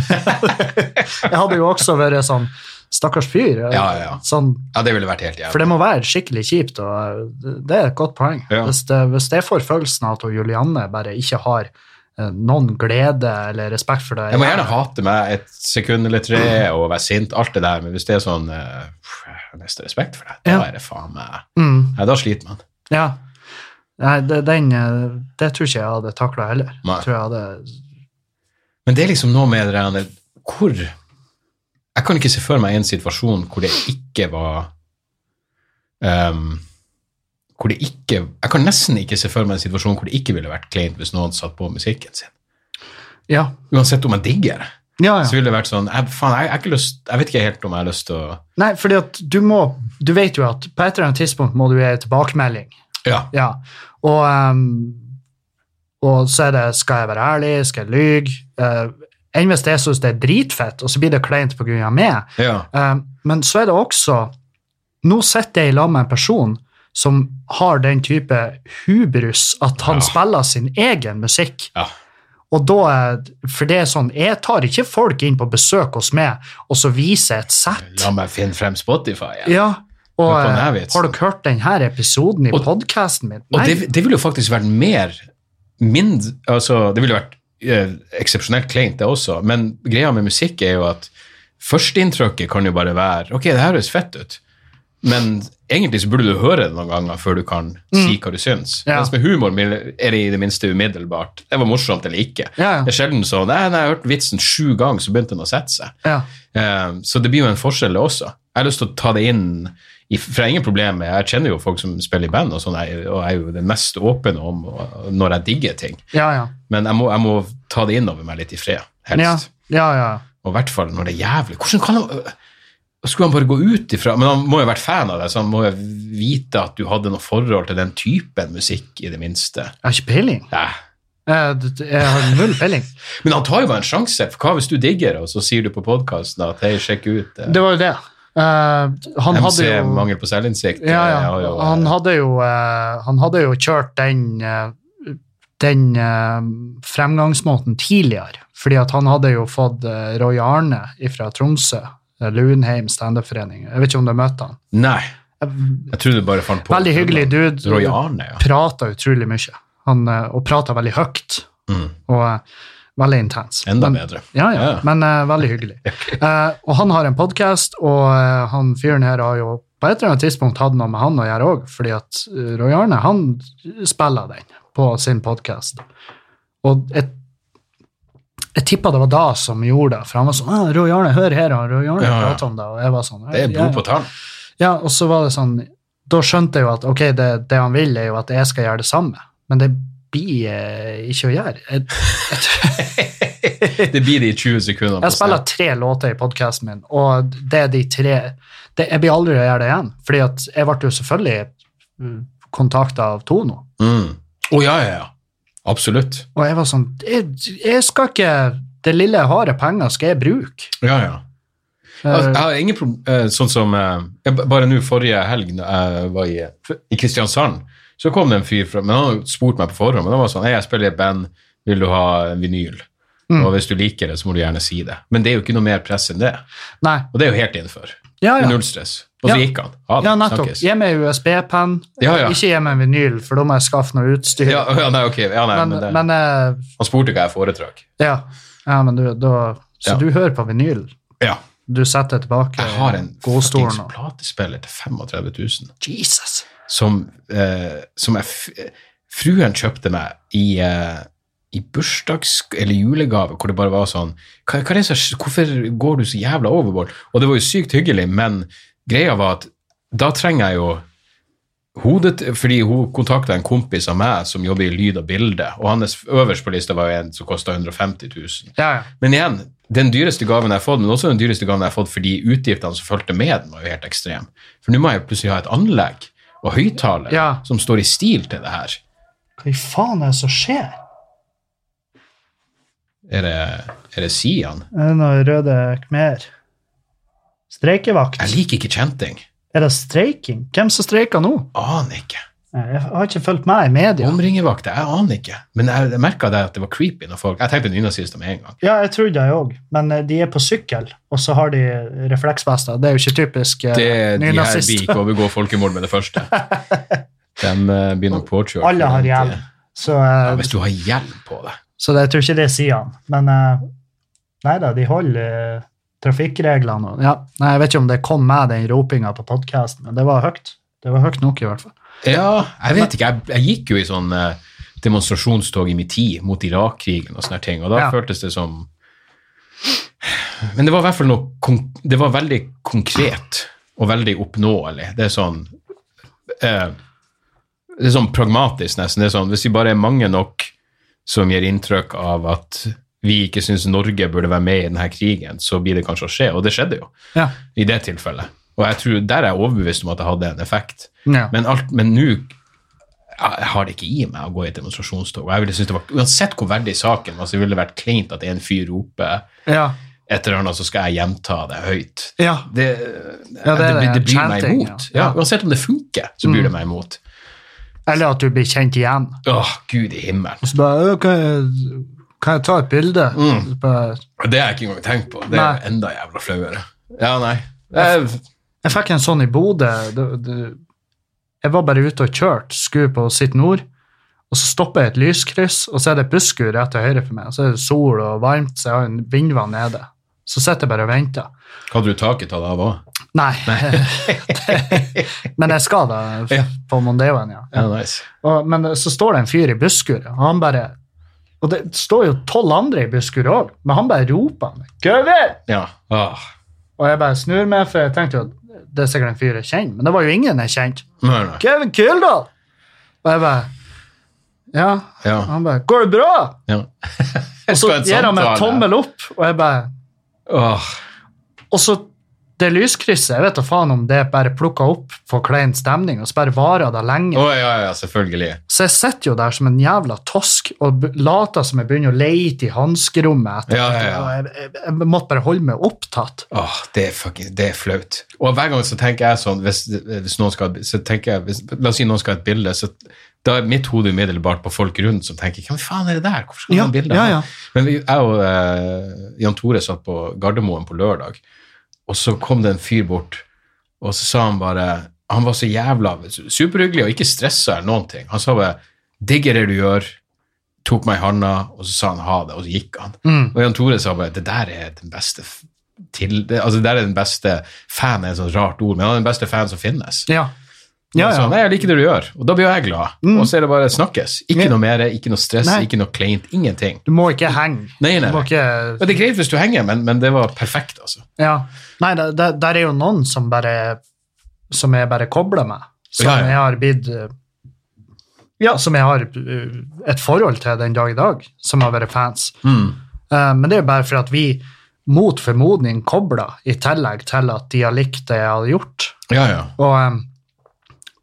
Speaker 1: jeg hadde jo også vært sånn Stakkars fyr.
Speaker 2: Ja, ja, ja.
Speaker 1: Sånn,
Speaker 2: Ja, det ville vært helt jævlig.
Speaker 1: for det må være skikkelig kjipt, og eh, det er et godt poeng.
Speaker 2: Ja.
Speaker 1: Hvis, det, hvis det får følelsen av at hun Julianne bare ikke har eh, noen glede eller respekt for det
Speaker 2: Jeg må gjerne hate meg et sekund eller tre og være sint, alt det der, men hvis det er sånn eh, pff, Jeg har nesten respekt for deg. Da
Speaker 1: Ja.
Speaker 2: er det faen meg
Speaker 1: Mm,
Speaker 2: Nei, da sliter man.
Speaker 1: ja. Nei, det, den, eh, det tror ikke jeg hadde takla heller.
Speaker 2: Nei.
Speaker 1: Jeg tror jeg hadde
Speaker 2: Men det er liksom noe med det der Hvor Jeg kan ikke se for meg en situasjon hvor det ikke var ehm, Hvor det ikke Jeg kan nesten ikke se for meg en situasjon hvor det ikke ville vært kleint hvis noen satt på musikken sin.
Speaker 1: Ja,
Speaker 2: Uansett om jeg digger det,
Speaker 1: ja. ja.
Speaker 2: så ville det vært sånn jeg, faen, jeg, jeg, har ikke lyst, jeg vet ikke helt om jeg har lyst til å
Speaker 1: Nei, fordi at du må Du vet jo at på et eller annet tidspunkt må du gi en tilbakemelding.
Speaker 2: Ja.
Speaker 1: Ja. Og, ehm, og så er det Skal jeg være ærlig? Skal jeg lyge? Eh, Enn hvis jeg syns det er dritfett, og så blir det kleint pga. meg.
Speaker 2: ja.
Speaker 1: Ehm, men så er det også Nå sitter jeg i lag med en person som har den type hubris at han
Speaker 2: Ja.
Speaker 1: spiller sin egen musikk.
Speaker 2: Ja.
Speaker 1: Og da, er- for det er sånn, Jeg tar ikke folk inn på besøk hos meg, og så viser jeg et sett.
Speaker 2: La meg finne frem Spotify. Ja.
Speaker 1: Ja, og
Speaker 2: Hør på den her
Speaker 1: eh,
Speaker 2: vitsen.
Speaker 1: har dere hørt denne episoden i
Speaker 2: Og-
Speaker 1: podkasten min?
Speaker 2: Og det, det ville jo faktisk vært mer mindre, altså Det ville vært eh, eksepsjonelt kleint, det også, men greia med musikk er jo at førsteinntrykket kan jo bare være Ok, det her høres fett ut, men egentlig så burde du høre det noen ganger før du kan si hva du syns.
Speaker 1: Mm. Ja.
Speaker 2: Mens med humor er det i det minste umiddelbart. Det var morsomt eller ikke.
Speaker 1: Ja, ja.
Speaker 2: Det er sjelden sånn Nei, nei, jeg hørte vitsen sju ganger, så begynte den å sette seg.
Speaker 1: ja.
Speaker 2: Eh, Så det blir jo en forskjell det også. Jeg har lyst til å ta det inn, i, for jeg har ingen problemer med Jeg kjenner jo folk som spiller i band, og, sånn, jeg- og jeg er jo den mest åpen om og- når jeg digger ting.
Speaker 1: ja, ja.
Speaker 2: Men jeg må, jeg må ta det inn over meg litt i fred, helst.
Speaker 1: Ja, ja, ja.
Speaker 2: Og i hvert fall når det er jævlig. Hvordan kan jeg, Da øh, skulle han bare gå ut ifra Men han må jo ha vært fan av deg, så han må jo vite at du hadde noe forhold til den typen musikk, i det minste.
Speaker 1: Jeg har ikke peiling.
Speaker 2: Ja.
Speaker 1: Jeg, jeg har null peiling.
Speaker 2: Men han tar jo bare en sjanse, for hva hvis du digger, og så sier du på podkasten at hei, sjekk ut eh,
Speaker 1: Det var jo det. Eh, han
Speaker 2: MC,
Speaker 1: hadde jo
Speaker 2: mangel på selvinnsikt.
Speaker 1: ja,
Speaker 2: eh,
Speaker 1: ja.
Speaker 2: har jo, eh,
Speaker 1: Han hadde jo eh, Han hadde jo kjørt den eh, den eh, fremgangsmåten tidligere. Fordi at han hadde jo fått eh, Roy Arne fra Tromsø, eh, Lunheim standup-forening. Jeg vet ikke om du møtte han.
Speaker 2: Nei, jeg tror du bare fant på
Speaker 1: Veldig hyggelig dude.
Speaker 2: Roy Arne, ja.
Speaker 1: Prata utrolig mye. Han, eh, og prata veldig høyt.
Speaker 2: Mm.
Speaker 1: Og eh, veldig intens.
Speaker 2: Enda
Speaker 1: Men-
Speaker 2: bedre.
Speaker 1: Ja, ja,
Speaker 2: Ja, ja.
Speaker 1: men eh, veldig hyggelig. Eh, og han har en podkast, og eh, han fyren her har jo på et eller annet tidspunkt hatt noe med han å gjøre òg, fordi at eh, Roy Arne han spiller den på sin podkast. Og jeg, jeg tippa det var da som gjorde det, for han var sånn ah, 'Roy Arne, hør her', og Roy Arne
Speaker 2: Ja, ja.
Speaker 1: prater om det, og jeg var sånn
Speaker 2: Det er blod på tann.
Speaker 1: ja, og så var det sånn Da skjønte jeg jo at ok, det, det han vil, er jo at jeg skal gjøre det samme, men det blir eh, ikke å gjøre. Jeg,
Speaker 2: Det blir de 20 sekundene. på
Speaker 1: Jeg spiller tre låter i podkasten min, og det er de tre det, Jeg blir aldri å gjøre det igjen, fordi at jeg ble jo selvfølgelig kontakta av Tono.
Speaker 2: scenen. Mm. Å, ja, ja, ja. Absolutt.
Speaker 1: Og jeg var sånn Jeg, jeg skal ikke Det lille jeg har av penger, skal jeg bruke.
Speaker 2: Ja, ja. Altså, jeg har ingen problem, eh, sånn som eh, jeg, b- Bare nå forrige helg da jeg var i, i Kristiansand, så kom det en fyr fra Men han hadde spurt meg på forhånd. Men han var sånn Hei, jeg spiller i et band, vil du ha en vinyl?
Speaker 1: Mm.
Speaker 2: Og hvis du liker det, så må du gjerne si det. Men det er jo ikke noe mer press enn det.
Speaker 1: Nei.
Speaker 2: Og det er jo helt innenfor.
Speaker 1: Ja, ja.
Speaker 2: Null stress. Og så
Speaker 1: Ja.
Speaker 2: gikk han. Ha det.
Speaker 1: Ja, nettopp.
Speaker 2: Snakkes.
Speaker 1: Gi meg USB-penn.
Speaker 2: Ja, ja.
Speaker 1: Ikke gi meg en vinyl, for da må jeg skaffe noe utstyr.
Speaker 2: Ja, ja, nei, ok. Ja, nei, men,
Speaker 1: men,
Speaker 2: det,
Speaker 1: men, eh,
Speaker 2: han spurte hva jeg foretrakk.
Speaker 1: Ja, ja men du, da Så
Speaker 2: Ja.
Speaker 1: du hører på vinyl?
Speaker 2: Ja.
Speaker 1: Du setter tilbake
Speaker 2: Jeg har en fuckings
Speaker 1: godstolen og
Speaker 2: platespiller til 35 000.
Speaker 1: Jesus!
Speaker 2: som, eh, som jeg, f- fruen kjøpte meg i, eh, i bursdags- eller julegave, hvor det bare var sånn hva, hva er det som, sk- Hvorfor går du så jævla overbord? Og det var jo sykt hyggelig, men greia var at da trenger jeg jo hodet, fordi hun kontakta en kompis av meg som jobber i lyd og bilde, og hans øverst på lista var jo en som kosta 150 000.
Speaker 1: Ja, ja.
Speaker 2: Men igjen, den dyreste gaven jeg har fått, men også den dyreste gaven jeg har fått fordi utgiftene som fulgte med den, var jo helt ekstrem. For nå må jeg plutselig ha et anlegg og høyttaler
Speaker 1: Ja.
Speaker 2: som står i stil til det her.
Speaker 1: Hva i faen er det som skjer?
Speaker 2: Er det, er det Sian?
Speaker 1: Er det noe røde khmer? Streikevakt?
Speaker 2: Jeg liker ikke chanting.
Speaker 1: Er det streiking? Hvem som streiker nå?
Speaker 2: Aner ikke.
Speaker 1: Nei, Jeg har ikke fulgt med i media.
Speaker 2: Omringevakter, jeg aner ikke. Men jeg, jeg merka det at det var creepy når folk Jeg tenkte nynazist med en gang.
Speaker 1: Ja, jeg trodde jeg òg, men eh, de er på sykkel, og så har de refleksvester. Det er jo ikke typisk eh,
Speaker 2: Det, de her
Speaker 1: nynazist.
Speaker 2: blir ikke å begå folkemord med det første. De eh, blir nok påkjørt.
Speaker 1: Alle har hjelm, så, eh,
Speaker 2: Ja, hvis du har hjelm på deg.
Speaker 1: så det, jeg tror ikke det sier han. Men eh, nei da, de holder eh, trafikkreglene. og- Ja. Nei, jeg vet ikke om det kom med den ropinga på podkasten, men det var høyt. Det var høyt nok, i hvert fall.
Speaker 2: Ja, jeg vet ikke. Jeg, jeg gikk jo i sånn eh, demonstrasjonstog i min tid mot Irak-krigen og sånne ting, og da
Speaker 1: Ja.
Speaker 2: føltes det som Men det var i hvert fall noe kon- Det var veldig konkret og veldig oppnåelig. Det er sånn eh, Det er sånn pragmatisk, nesten. Det er sånn, Hvis vi bare er mange nok som gir inntrykk av at vi ikke syns Norge burde være med i denne krigen, så blir det kanskje å skje. Og det skjedde jo
Speaker 1: Ja.
Speaker 2: i det tilfellet. Og jeg tror, der er jeg overbevist om at det hadde en effekt.
Speaker 1: Ja.
Speaker 2: Men alt, men nå jeg har det ikke i meg å gå i et demonstrasjonstog. og Jeg ville synes det var, Uansett hvor verdig saken var, så ville det vært kleint at en fyr roper
Speaker 1: Ja.
Speaker 2: et eller annet, så skal jeg gjenta det høyt.
Speaker 1: ja.
Speaker 2: Det,
Speaker 1: Ja, det
Speaker 2: det,
Speaker 1: er
Speaker 2: blir- det
Speaker 1: det,
Speaker 2: blir meg
Speaker 1: chanting,
Speaker 2: imot.
Speaker 1: ja. Mm.
Speaker 2: Ja, uansett om det funker, så blir det meg imot.
Speaker 1: Eller at du blir kjent igjen.
Speaker 2: Åh, gud i himmelen.
Speaker 1: Og så bare «Øh, kan jeg, kan jeg ta et bilde? Så Bare,
Speaker 2: Og Det har jeg ikke engang tenkt på. Det er
Speaker 1: Nei.
Speaker 2: jo enda jævla flauere. Ja, nei. Jeg,
Speaker 1: jeg fikk en sånn i Bodø. Det- det- Jeg var bare ute og kjørte, skulle på sitt nord, og så stopper jeg et lyskryss, og så er det et busskur rett til høyre for meg, og så er det sol og varmt, så jeg har en vindvann nede. Så sitter jeg bare og venter.
Speaker 2: hadde du taket tatt av òg?
Speaker 1: Nei. men jeg skal da,
Speaker 2: Ja.
Speaker 1: på Mondeoen, ja.
Speaker 2: Ja, nice.
Speaker 1: Og, men så står det en fyr i busskuret, og han bare Og det står jo tolv andre i busskuret òg, men han bare roper. han, «Gøver!»
Speaker 2: Ja. Åh.
Speaker 1: Og jeg bare snur meg, for jeg tenkte jo at det er sikkert en fyr jeg kjenner. Men det var jo ingen jeg kjente.
Speaker 2: Nei, nei.
Speaker 1: Kevin Kildahl! Og jeg bare Ja.
Speaker 2: Ja.
Speaker 1: Og han bare Går det bra?
Speaker 2: ja.
Speaker 1: Og så gir han meg tommel opp, og jeg bare
Speaker 2: Åh.
Speaker 1: Og så det lyskrysset, jeg vet da faen om det bare plukka opp for klein stemning, og så bare varer det lenge.
Speaker 2: Å ja, ja, selvfølgelig.
Speaker 1: Så jeg sitter jo der som en jævla tosk og b- later som jeg begynner å leite i hanskerommet etter
Speaker 2: Ja, ja, ja.
Speaker 1: og Jeg, jeg, jeg måtte bare holde meg opptatt.
Speaker 2: Åh, det er, fucking, det er flaut. Og hver gang så tenker jeg sånn hvis, hvis noen skal, så tenker jeg, hvis, La oss si noen skal ha et bilde, så da er mitt hode umiddelbart på folk rundt som tenker Hvem faen er det der? Hvorfor skal du
Speaker 1: Ja,
Speaker 2: ha et bilde?
Speaker 1: ja,
Speaker 2: av
Speaker 1: ja.
Speaker 2: Men vi- jeg og eh, Jan Tore satt på Gardermoen på lørdag, og så kom det en fyr bort, og så sa han bare Han var så jævla superhyggelig og ikke stressa eller noen ting. Han sa bare 'Digger det du gjør', tok meg i handa, og så sa han ha det, og så gikk han.
Speaker 1: Mm.
Speaker 2: Og Jan Tore sa bare det der er den beste f- til, det, altså det der er den beste fan er et sånt rart ord, men han er den beste fan som finnes.
Speaker 1: Ja. Ja,
Speaker 2: Og så sa han,
Speaker 1: ja.
Speaker 2: Nei, jeg liker det du gjør, og da blir jo jeg glad.
Speaker 1: Mm.
Speaker 2: Og så er det bare snakkes. Ikke
Speaker 1: Ja.
Speaker 2: noe mer, ikke noe stress,
Speaker 1: Nei.
Speaker 2: ikke noe kleint, ingenting.
Speaker 1: Du må ikke henge.
Speaker 2: Nei, nei,
Speaker 1: Du må
Speaker 2: nei.
Speaker 1: ikke
Speaker 2: Men det er greit hvis du henger, men, men det var perfekt, altså.
Speaker 1: Ja. Nei, det- det- der er jo noen som bare som jeg bare kobler med. Som
Speaker 2: Ja, ja.
Speaker 1: jeg har blitt eh, Ja, som jeg har eh, et forhold til den dag i dag, som har vært fans. Eh, Men det er jo bare for at vi mot formodning kobler, i tillegg til at de har likt det jeg har gjort.
Speaker 2: Ja, ja.
Speaker 1: Og, em,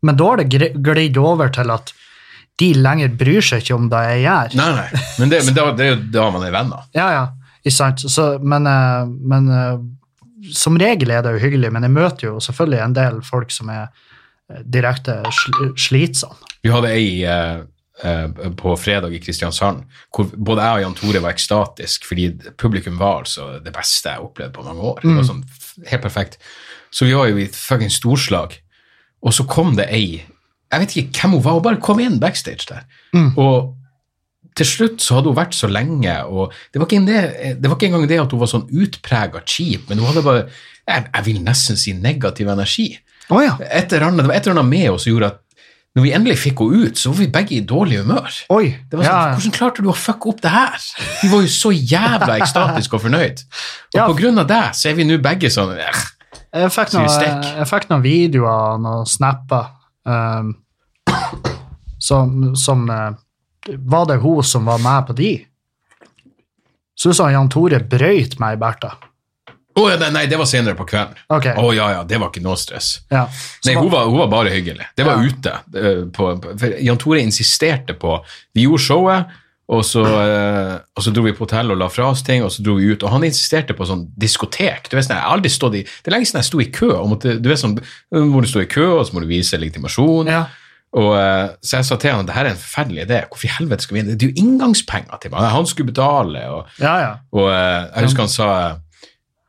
Speaker 1: men da har det gri- glidd over til at de lenger bryr seg ikke om det jeg gjør.
Speaker 2: Nei, nei. Men det, men da, det er jo da man er venner.
Speaker 1: Ja, ja, ikke sant. Så, men eh, men eh, som regel er det jo hyggelig, men jeg møter jo selvfølgelig en del folk som er eh, direkte sl slitsomme.
Speaker 2: Vi hadde ei eh, eh, på fredag i Kristiansand hvor både jeg og Jan Tore var ekstatisk, fordi publikum var altså det beste jeg har opplevd på mange år. Det var sånn f- helt perfekt. Så vi var jo i et fucking storslag, og så kom det ei Jeg vet ikke hvem hun var, hun bare kom inn backstage der.
Speaker 1: Mm.
Speaker 2: Og til slutt så hadde hun vært så lenge, og det var ikke, en det, det var ikke engang det at hun var sånn utprega kjip, men hun hadde bare jeg, jeg vil nesten si negativ energi
Speaker 1: Å ja.
Speaker 2: et eller annet, det var et eller annet med oss som gjorde at når vi endelig fikk henne ut, så var vi begge i dårlig humør.
Speaker 1: Oi.
Speaker 2: Det var sånn,
Speaker 1: ja, ja.
Speaker 2: Hvordan klarte du å fucke opp det her? Vi var jo så jævla ekstatiske og fornøyd. Og
Speaker 1: Ja.
Speaker 2: på grunn av deg så er vi nå begge sånn eh,
Speaker 1: Jeg fikk,
Speaker 2: Så vi
Speaker 1: noe,
Speaker 2: stekk.
Speaker 1: jeg fikk noen videoer og noen snapper em, som, som eh, Var det hun som var med på de? Så du sa Jan Tore brøyt meg, Bertha.
Speaker 2: Å ja, nei, nei, det var senere på kvelden. Å
Speaker 1: Ok.
Speaker 2: ja, ja, det var ikke noe stress.
Speaker 1: Ja.
Speaker 2: Nei,
Speaker 1: Så-
Speaker 2: hun var, hun var bare hyggelig. Det var
Speaker 1: Ja.
Speaker 2: ute. eh, På, på, for Jan Tore insisterte på Vi gjorde showet, og så, eh, og så dro vi på hotell og la fra oss ting, og så dro vi ut. Og han insisterte på sånn diskotek. Du vet, sånn, jeg har aldri stått i, det er lenge siden jeg sto i kø. Og måtte, du vet sånn, hvor du står i kø, og så må du vise legitimasjon.
Speaker 1: ja.
Speaker 2: Og, eh, så jeg sa til han at det her er en forferdelig idé. Hvorfor i helvete skal vi inn? Det er jo inngangspenger til meg. Han skulle betale. og...
Speaker 1: Ja, ja.
Speaker 2: Og eh, jeg husker han sa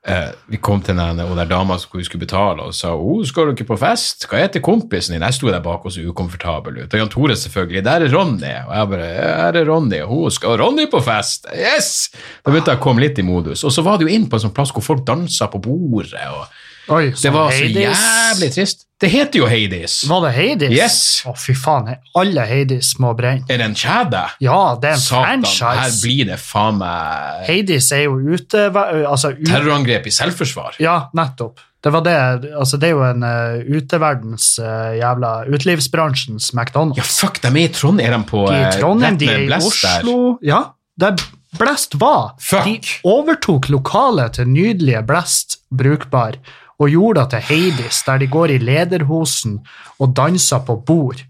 Speaker 2: eh, Vi kom til den, og der dama som hun skulle betale, og sa oh, 'Skal du ikke på fest? Hva heter kompisen din?' Jeg sto der bak og så ukomfortabel ut. Og Jan Tore selvfølgelig. 'Der er Ronny.' Og jeg bare 'Her er Ronny.' Og hun 'Skal Ronny på fest?' Yes! Da begynte jeg å komme litt i modus. Og så var det jo inn på en sånn plass hvor folk dansa på bordet, og
Speaker 1: Oi,
Speaker 2: det var så
Speaker 1: Hades.
Speaker 2: jævlig trist. Det heter jo Hades.
Speaker 1: Var det Hades?
Speaker 2: Yes!
Speaker 1: Å, fy faen. jeg- Alle Hades må brenne.
Speaker 2: Er det en kjede?
Speaker 1: Ja, det er en
Speaker 2: Satan, her
Speaker 1: franchise.
Speaker 2: blir det faen meg
Speaker 1: Hades er jo ute hva- altså, u-
Speaker 2: terrorangrep i selvforsvar.
Speaker 1: Ja, nettopp. Det var det. Altså, det er jo en eh, uteverdens eh, jævla Utelivsbransjens McDonald's.
Speaker 2: Ja, fuck, de er i Trondheim. Er de på
Speaker 1: de er
Speaker 2: eh,
Speaker 1: i Trondheim,
Speaker 2: rett
Speaker 1: de
Speaker 2: ved
Speaker 1: er i
Speaker 2: Blest Der.
Speaker 1: Oslo Ja, der Blest var.
Speaker 2: Fuck.
Speaker 1: De overtok lokalet til nydelige Blest brukbar og gjorde det til Hades, der de går i lederhosen og danser på bord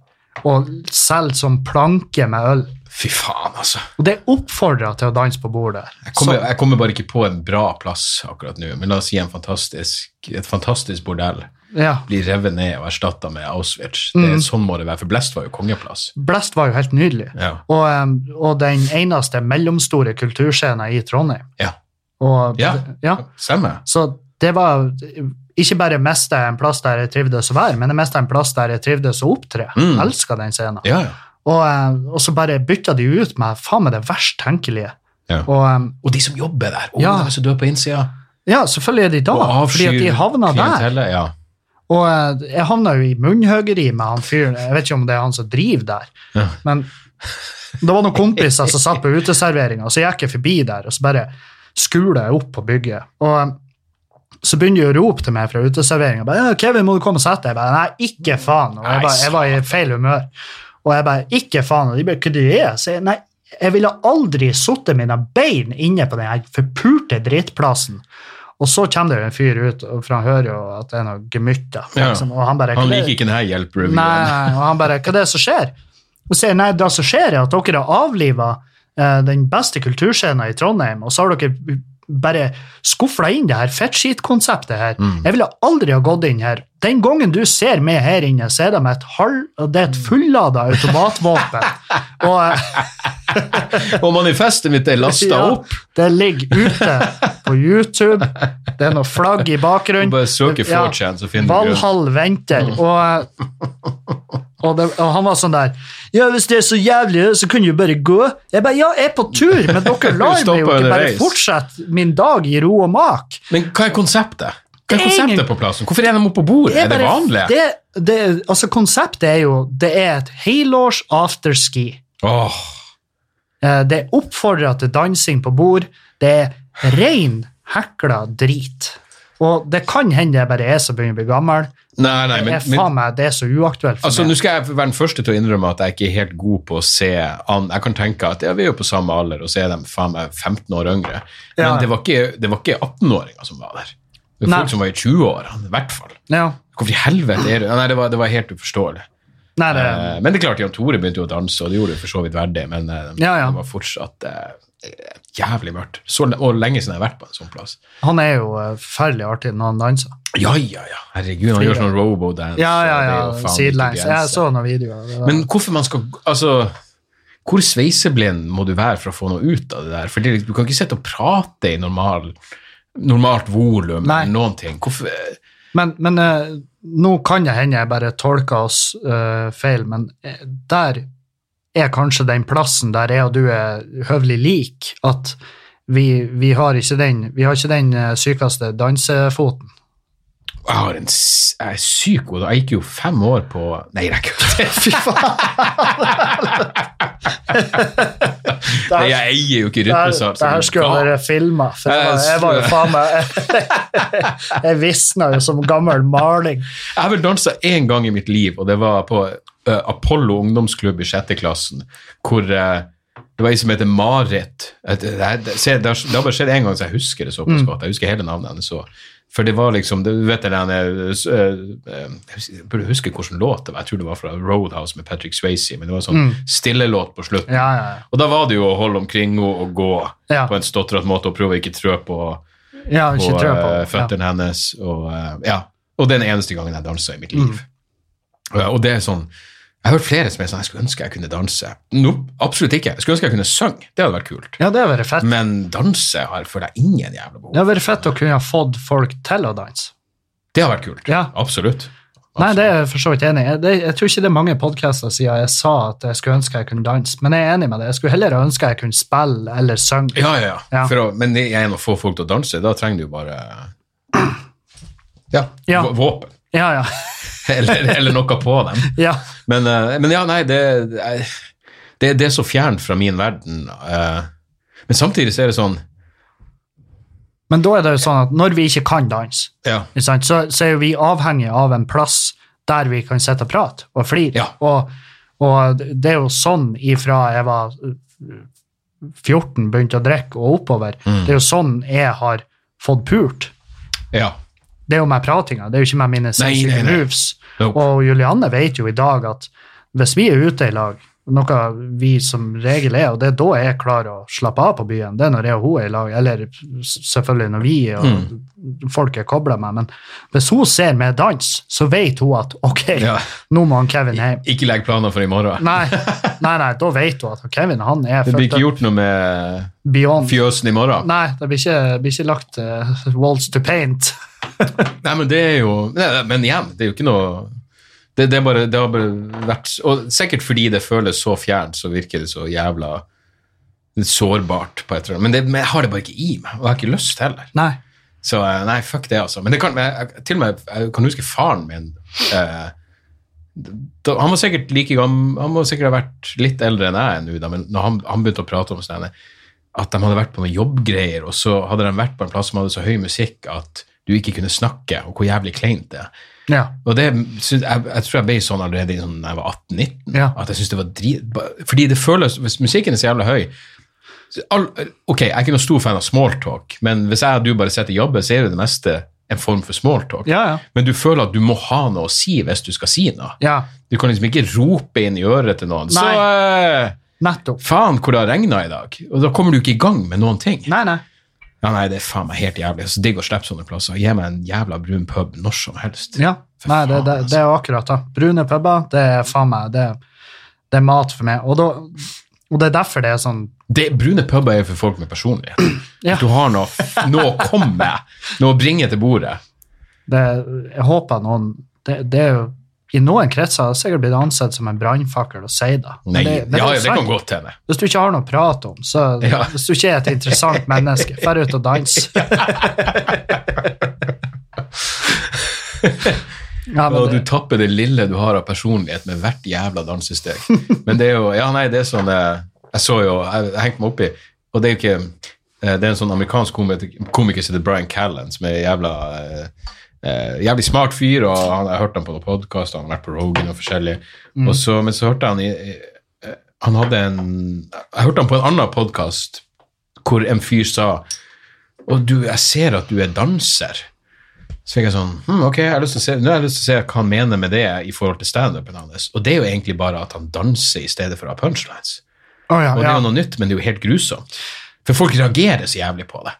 Speaker 1: og selger som planke med øl.
Speaker 2: Fy faen, altså.
Speaker 1: Og det oppfordrer til å danse på bordet.
Speaker 2: Jeg kommer, jeg kommer bare ikke på en bra plass akkurat nå, men la oss si en fantastisk, et fantastisk bordell
Speaker 1: Ja.
Speaker 2: blir revet ned og erstatta med Auschwitz.
Speaker 1: Mm.
Speaker 2: Det, sånn må det være, for Blest var jo kongeplass.
Speaker 1: Blest var jo helt nydelig.
Speaker 2: Ja.
Speaker 1: Og, em, og den eneste mellomstore kulturscenen i Trondheim.
Speaker 2: Ja.
Speaker 1: Og,
Speaker 2: Ja.
Speaker 1: ja.
Speaker 2: Stemmer.
Speaker 1: Så det var Ikke bare mista jeg en plass der jeg trivdes å være, men jeg mista en plass der jeg trivdes å opptre.
Speaker 2: Mm.
Speaker 1: Elska den scenen.
Speaker 2: Ja, ja.
Speaker 1: Og, em, og så bare bytta de ut med faen meg det verst tenkelige.
Speaker 2: Ja.
Speaker 1: Og em,
Speaker 2: Og de som jobber der, oh,
Speaker 1: Ja.
Speaker 2: de er så døde på innsida.
Speaker 1: ja, selvfølgelig er de da,
Speaker 2: Og
Speaker 1: fordi at de havna der.
Speaker 2: klientellet, Ja.
Speaker 1: Og eh, jeg havna jo i munnhøgeri med han fyren. Jeg vet ikke om det er han som driver der.
Speaker 2: Ja.
Speaker 1: Men det var noen kompiser som satt på uteserveringa, og så gikk jeg forbi der, og så bare skula jeg opp på bygget. Og eh, så begynner de å rope til meg fra uteserveringa. 'Kevin, må du komme og sette deg?' Jeg bare 'Nei, ikke faen'. Og
Speaker 2: Nei,
Speaker 1: jeg, bare, jeg var i feil humør. Og jeg bare 'Ikke faen'. Og de bare 'Hva det er?' Så jeg, nei, jeg ville aldri satt mine bein inne på den her forpurte drittplassen. Og så kommer det jo en fyr ut, og- for han hører jo at det er noe gemytter.
Speaker 2: Ja.
Speaker 1: Liksom, og han bare
Speaker 2: Han
Speaker 1: «Hva er-
Speaker 2: liker ikke denne hjelp-revyen.
Speaker 1: Nei, og han bare, hva er det som skjer? Og sier, nei, det som skjer er at dere har avlivet eh, den beste kulturscenen i Trondheim, og så har dere bare skufflet inn det her fettskit-konseptet her. Jeg ville aldri ha gått inn her. Den gangen du ser meg her inne, så er det med et halv, det er et fulladet automatvåpen. og eh,
Speaker 2: Og manifestet mitt er lasta
Speaker 1: ja,
Speaker 2: opp.
Speaker 1: det ligger ute på YouTube, det er noe flagg i bakgrunnen.
Speaker 2: Bare søker
Speaker 1: Ja.
Speaker 2: 4chan, så finner du grunn.
Speaker 1: Valhall venter, og, eh, og, det, og han var sånn der Ja, hvis det er så jævlig, så kunne du bare gå. Jeg bare, ja, jeg er på tur, men dere lar meg
Speaker 2: Stopper
Speaker 1: jo ikke bare
Speaker 2: underveis.
Speaker 1: fortsette min dag i ro og mak.
Speaker 2: Men hva er konseptet? Hva
Speaker 1: Det
Speaker 2: er
Speaker 1: er ingen-
Speaker 2: konseptet på plassen? Hvorfor er de oppe på bordet? Er det
Speaker 1: bare-
Speaker 2: vanlig?
Speaker 1: Det, det, altså, konseptet er jo Det er et helårs afterski.
Speaker 2: Åh,
Speaker 1: Eh, Det oppfordrer til dansing på bord. Det er ren hekla drit. Og det kan hende det bare er jeg som begynner å bli gammel.
Speaker 2: Nei, nei,
Speaker 1: Det
Speaker 2: men,
Speaker 1: er
Speaker 2: men
Speaker 1: faen meg det er så uaktuelt for
Speaker 2: altså,
Speaker 1: meg.
Speaker 2: Nå skal jeg være den første til å innrømme at jeg ikke er helt god på å se an. Jeg kan tenke at ja, vi er jo på samme alder, og så er de faen meg 15 år yngre. Men
Speaker 1: Ja.
Speaker 2: det var ikke, det var ikke 18-åringer som var der. Det var
Speaker 1: Nei.
Speaker 2: folk som var i 20-årene, i hvert fall.
Speaker 1: Ja.
Speaker 2: Hvorfor i helvete er det Nei, det var, det var helt uforståelig.
Speaker 1: Nei, det,
Speaker 2: Eh, Men det er klart, Jan Tore begynte jo å danse, og det gjorde det for så vidt verdig, men eh,
Speaker 1: Ja, ja.
Speaker 2: det var fortsatt eh, jævlig mørkt. Så, le- og lenge siden jeg har vært på en sånn plass.
Speaker 1: Han er jo eh, forferdelig artig når han danser.
Speaker 2: Ja, ja, ja. Herregud, han
Speaker 1: Fy,
Speaker 2: gjør
Speaker 1: ja.
Speaker 2: sånn robo-dance.
Speaker 1: Ja, ja,
Speaker 2: og det er jo
Speaker 1: ja.
Speaker 2: faen
Speaker 1: Sidelengs.
Speaker 2: ikke grenser.
Speaker 1: Jeg så noen videoer. Det var-
Speaker 2: Men hvorfor man skal Altså, hvor sveiseblind må du være for å få noe ut av det der? For det, er liksom- du kan ikke sitte og prate i normal, normalt volum
Speaker 1: Nei.
Speaker 2: eller noen ting. Hvorfor
Speaker 1: men, men eh, nå kan det hende jeg bare tolker oss eh, feil, men eh, der er kanskje den plassen der jeg og du er høvelig lik, at vi, vi har ikke den, vi har ikke den eh, sykeste dansefoten.
Speaker 2: Jeg har en s- jeg er syk god Jeg gikk jo fem år på Nei, det er ikke det.
Speaker 1: Fy faen! det
Speaker 2: Nei,
Speaker 1: her,
Speaker 2: Jeg eier jo ikke
Speaker 1: det her,
Speaker 2: rytmesans.
Speaker 1: det her skulle dere filma, for jeg var- jeg var jo faen meg Jeg visna jo som gammel maling.
Speaker 2: Jeg har vel dansa én gang i mitt liv, og det var på eh, Apollo ungdomsklubb i sjette klassen, hvor eh, det var ei som heter Marit. Et- Det, her- det, se, det, har, det har bare skjedd én gang, så jeg husker det såpass godt. Jeg husker hele navnet hennes så. For det var liksom det, Du vet det der eh, s- eh, eh, Jeg hus- jeg burde huske hvilken låt det var. Jeg tror det var fra Roadhouse med Patrick Swayze, men det var en sånn stillelåt på slutten.
Speaker 1: Ja, ja,
Speaker 2: Og da var det jo å holde omkring henne og gå
Speaker 1: Ja.
Speaker 2: på en stotrete måte og prøve å ikke trø på
Speaker 1: ja. ja ikke
Speaker 2: på,
Speaker 1: trø på.
Speaker 2: eh, føttene hennes. Og, eh, ja. og det er den eneste gangen jeg dansa i mitt
Speaker 1: Mm.
Speaker 2: liv. Eh, og det er sånn Jeg har hørt flere som er sånn Jeg skulle ønske jeg kunne danse. Nope, absolutt ikke. Jeg skulle ønske jeg kunne synge. Det hadde vært kult.
Speaker 1: Ja, det hadde vært fett.
Speaker 2: Men danse har føler jeg ingen jævla behov
Speaker 1: Det hadde vært fett å kunne ha fått folk til å danse.
Speaker 2: Det har vært kult.
Speaker 1: Ja.
Speaker 2: Absolutt.
Speaker 1: Nei, det er jeg for så vidt enig i. Jeg, det- jeg tror ikke det er mange podcaster siden jeg sa at jeg skulle ønske jeg kunne danse, men jeg er enig med det. Jeg skulle heller ønske jeg kunne spille eller synge.
Speaker 2: Ja, ja, ja.
Speaker 1: Ja.
Speaker 2: For å, men jeg er en å få folk til å danse. Da trenger du jo bare ja,
Speaker 1: Ja.
Speaker 2: vå- våpen.
Speaker 1: Ja, ja.
Speaker 2: Eller, eller noe på dem.
Speaker 1: ja.
Speaker 2: Men, eh, men ja, nei, det, jeg- det, det er så fjernt fra min verden. eh. men samtidig så er det sånn
Speaker 1: Men da er det jo sånn at når vi ikke kan danse,
Speaker 2: Ja.
Speaker 1: ikke sant, så, så er jo vi avhengig av en plass der vi kan sitte og prate og flire.
Speaker 2: Ja.
Speaker 1: Og, og det er jo sånn ifra jeg var uh, 14, begynte å drikke og oppover. Det er jo sånn jeg har fått pult.
Speaker 2: ja.
Speaker 1: Det er jo med pratinga, det er jo ikke med mine
Speaker 2: nei,
Speaker 1: sinnssyke
Speaker 2: nei.
Speaker 1: moves.
Speaker 2: Nope.
Speaker 1: Og Julianne vet jo i dag at hvis vi er ute i lag, noe vi som regel er, og det er da jeg klarer å slappe av på byen, det er når jeg og hun er i lag, eller s- selvfølgelig når vi og
Speaker 2: Mm.
Speaker 1: folk er kobla med, men hvis hun ser meg danse, så vet hun at ok,
Speaker 2: Ja.
Speaker 1: nå må han Kevin hjem.
Speaker 2: Ikke legg planer for i morgen.
Speaker 1: Nei, nei, nei, da vet hun at Kevin han er
Speaker 2: Det blir
Speaker 1: fucked
Speaker 2: ikke
Speaker 1: up
Speaker 2: gjort noe med
Speaker 1: beyond.
Speaker 2: fjøsen i morgen.
Speaker 1: Nei, det blir ikke, blir ikke lagt eh, walls to paint.
Speaker 2: Nei, men det er jo nei, nei, Men igjen, det er jo ikke noe det, det, er bare, det har bare vært Og sikkert fordi det føles så fjernt, så virker det så jævla sårbart på et eller annet. Men, det, men jeg har det bare ikke i meg, og jeg har ikke lyst heller.
Speaker 1: Nei.
Speaker 2: Så eh, nei, fuck det, altså. Men det kan, jeg, jeg- til og med, jeg kan huske faren min eh, da, Han var sikkert like gammel Han må sikkert ha vært litt eldre enn jeg er nå, da, men når han, han begynte å prate om sånne, at de hadde vært på noen jobbgreier, og så hadde de vært på en plass som hadde så høy musikk at du ikke kunne snakke, og hvor jævlig kleint det er.
Speaker 1: Ja.
Speaker 2: Og det, syns- jeg, jeg tror jeg ble sånn allerede i sånn, da jeg var 18-19.
Speaker 1: Ja.
Speaker 2: At jeg syntes det var drit... ba- Fordi det føles Hvis musikken er så jævla høy, all, Ok, jeg er ikke noen stor fan av smalltalk, men hvis jeg og du bare sitter og jobber, så er jo det meste en form for smalltalk.
Speaker 1: Ja, ja.
Speaker 2: Men du føler at du må ha noe å si hvis du skal si noe.
Speaker 1: ja.
Speaker 2: Du kan liksom ikke rope inn i øret til noen. Så eh,
Speaker 1: Nettopp.
Speaker 2: faen hvor det har regna i dag. Og da kommer du ikke i gang med noen ting.
Speaker 1: Nei, nei.
Speaker 2: Ja, nei, det er faen meg helt jævlig. Så digg å slippe sånne plasser. Gi meg en jævla brun pub når som helst.
Speaker 1: Ja.
Speaker 2: For
Speaker 1: Nei, det,
Speaker 2: faen, altså.
Speaker 1: det, det er jo akkurat det. Brune puber, det er faen meg det, det er mat for meg. Og, da, og det er derfor det er sånn
Speaker 2: Det, brune puber er jo for folk med personlighet.
Speaker 1: Ja.
Speaker 2: At Du har noe, f- noe å komme med, noe å bringe til bordet.
Speaker 1: det, Jeg håper noen det, det er jo, I noen kretser har det sikkert blitt ansett som en brannfakkel å si det. Men
Speaker 2: Nei,
Speaker 1: det, det er
Speaker 2: ja,
Speaker 1: jo
Speaker 2: ja, det
Speaker 1: sant.
Speaker 2: kan godt hende.
Speaker 1: Hvis du ikke har noe å prate om, så
Speaker 2: Ja.
Speaker 1: hvis du ikke er et interessant menneske, dra ut og dans. Ja, men
Speaker 2: Og du
Speaker 1: det,
Speaker 2: tapper det lille du har av personlighet med hvert jævla dansesteg. Men det er jo Ja, nei, det er sånn eh, Jeg så jo Jeg, jeg hengte meg oppi, og det er jo ikke eh, Det er en sånn amerikansk komiker, komiker som heter Brian Callan, som er jævla eh, eh, jævlig smart fyr, og han, jeg hørte han på noen podkast, han har vært på Rogan og forskjellig.
Speaker 1: Mm.
Speaker 2: Og så, men så hørte jeg han i eh, Han hadde en Jeg hørte han på en annen podkast hvor en fyr sa Og du, jeg ser at du er danser. Så fikk jeg sånn hm, Ok, jeg har lyst til å se, nå har jeg lyst til å se hva han mener med det i forhold til standupen hans. Og det er jo egentlig bare at han danser i stedet for å ha punchlines.
Speaker 1: Å, ja,
Speaker 2: Og det
Speaker 1: ja.
Speaker 2: er jo noe nytt, men det er jo helt grusomt. For folk reagerer så jævlig på det.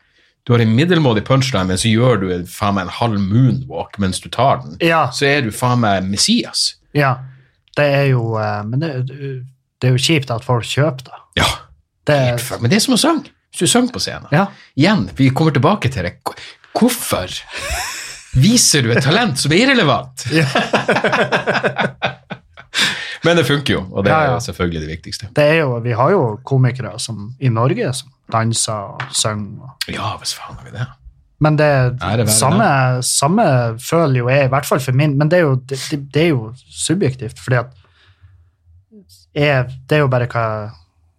Speaker 2: Du har en middelmådig punchline, men så gjør du en- faen meg en halv moonwalk mens du tar den.
Speaker 1: Ja.
Speaker 2: Så er du faen meg Messias.
Speaker 1: ja. Det er jo eh, Men det, det er jo kjipt at folk kjøper det.
Speaker 2: Ja.
Speaker 1: det
Speaker 2: helt fuck. Men det er som å synge. Hvis du synger på scenen.
Speaker 1: ja.
Speaker 2: Igjen, vi kommer tilbake til det. Hvor- Hvorfor viser du et talent som er irrelevant?
Speaker 1: Ja.
Speaker 2: Men det funker jo, og det er
Speaker 1: Ja, ja.
Speaker 2: jo selvfølgelig det viktigste.
Speaker 1: Det er jo, vi har jo komikere som, i Norge som danser og synger. og-
Speaker 2: Ja, hvis faen har vi det.
Speaker 1: Men det,
Speaker 2: Ære være
Speaker 1: samme, samme føler jo jeg, i hvert fall for min, men det er jo, det, det- det er jo subjektivt, fordi at jeg, det er jo bare hva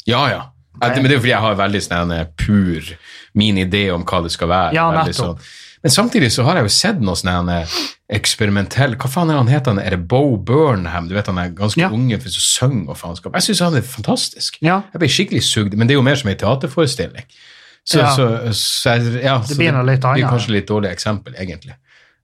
Speaker 2: Ja, ja. Ja, det- Men det er jo fordi jeg har veldig sånn en pur min idé om hva det skal være.
Speaker 1: Ja,
Speaker 2: veldig
Speaker 1: nettopp.
Speaker 2: sånn. Men samtidig så har jeg jo sett noe sånn en eksperimentell Hva faen er han heter han? Er det Bo Burnham? Du vet han er ganske
Speaker 1: Ja.
Speaker 2: unge for som synger og faenskap. Jeg syns han er fantastisk.
Speaker 1: Ja,
Speaker 2: Jeg ble skikkelig sugd, men det er jo mer som en teaterforestilling. Så,
Speaker 1: Ja.
Speaker 2: så, så, jeg- ja, så
Speaker 1: blir noe litt
Speaker 2: blir
Speaker 1: annet.
Speaker 2: kanskje litt dårlig eksempel, egentlig.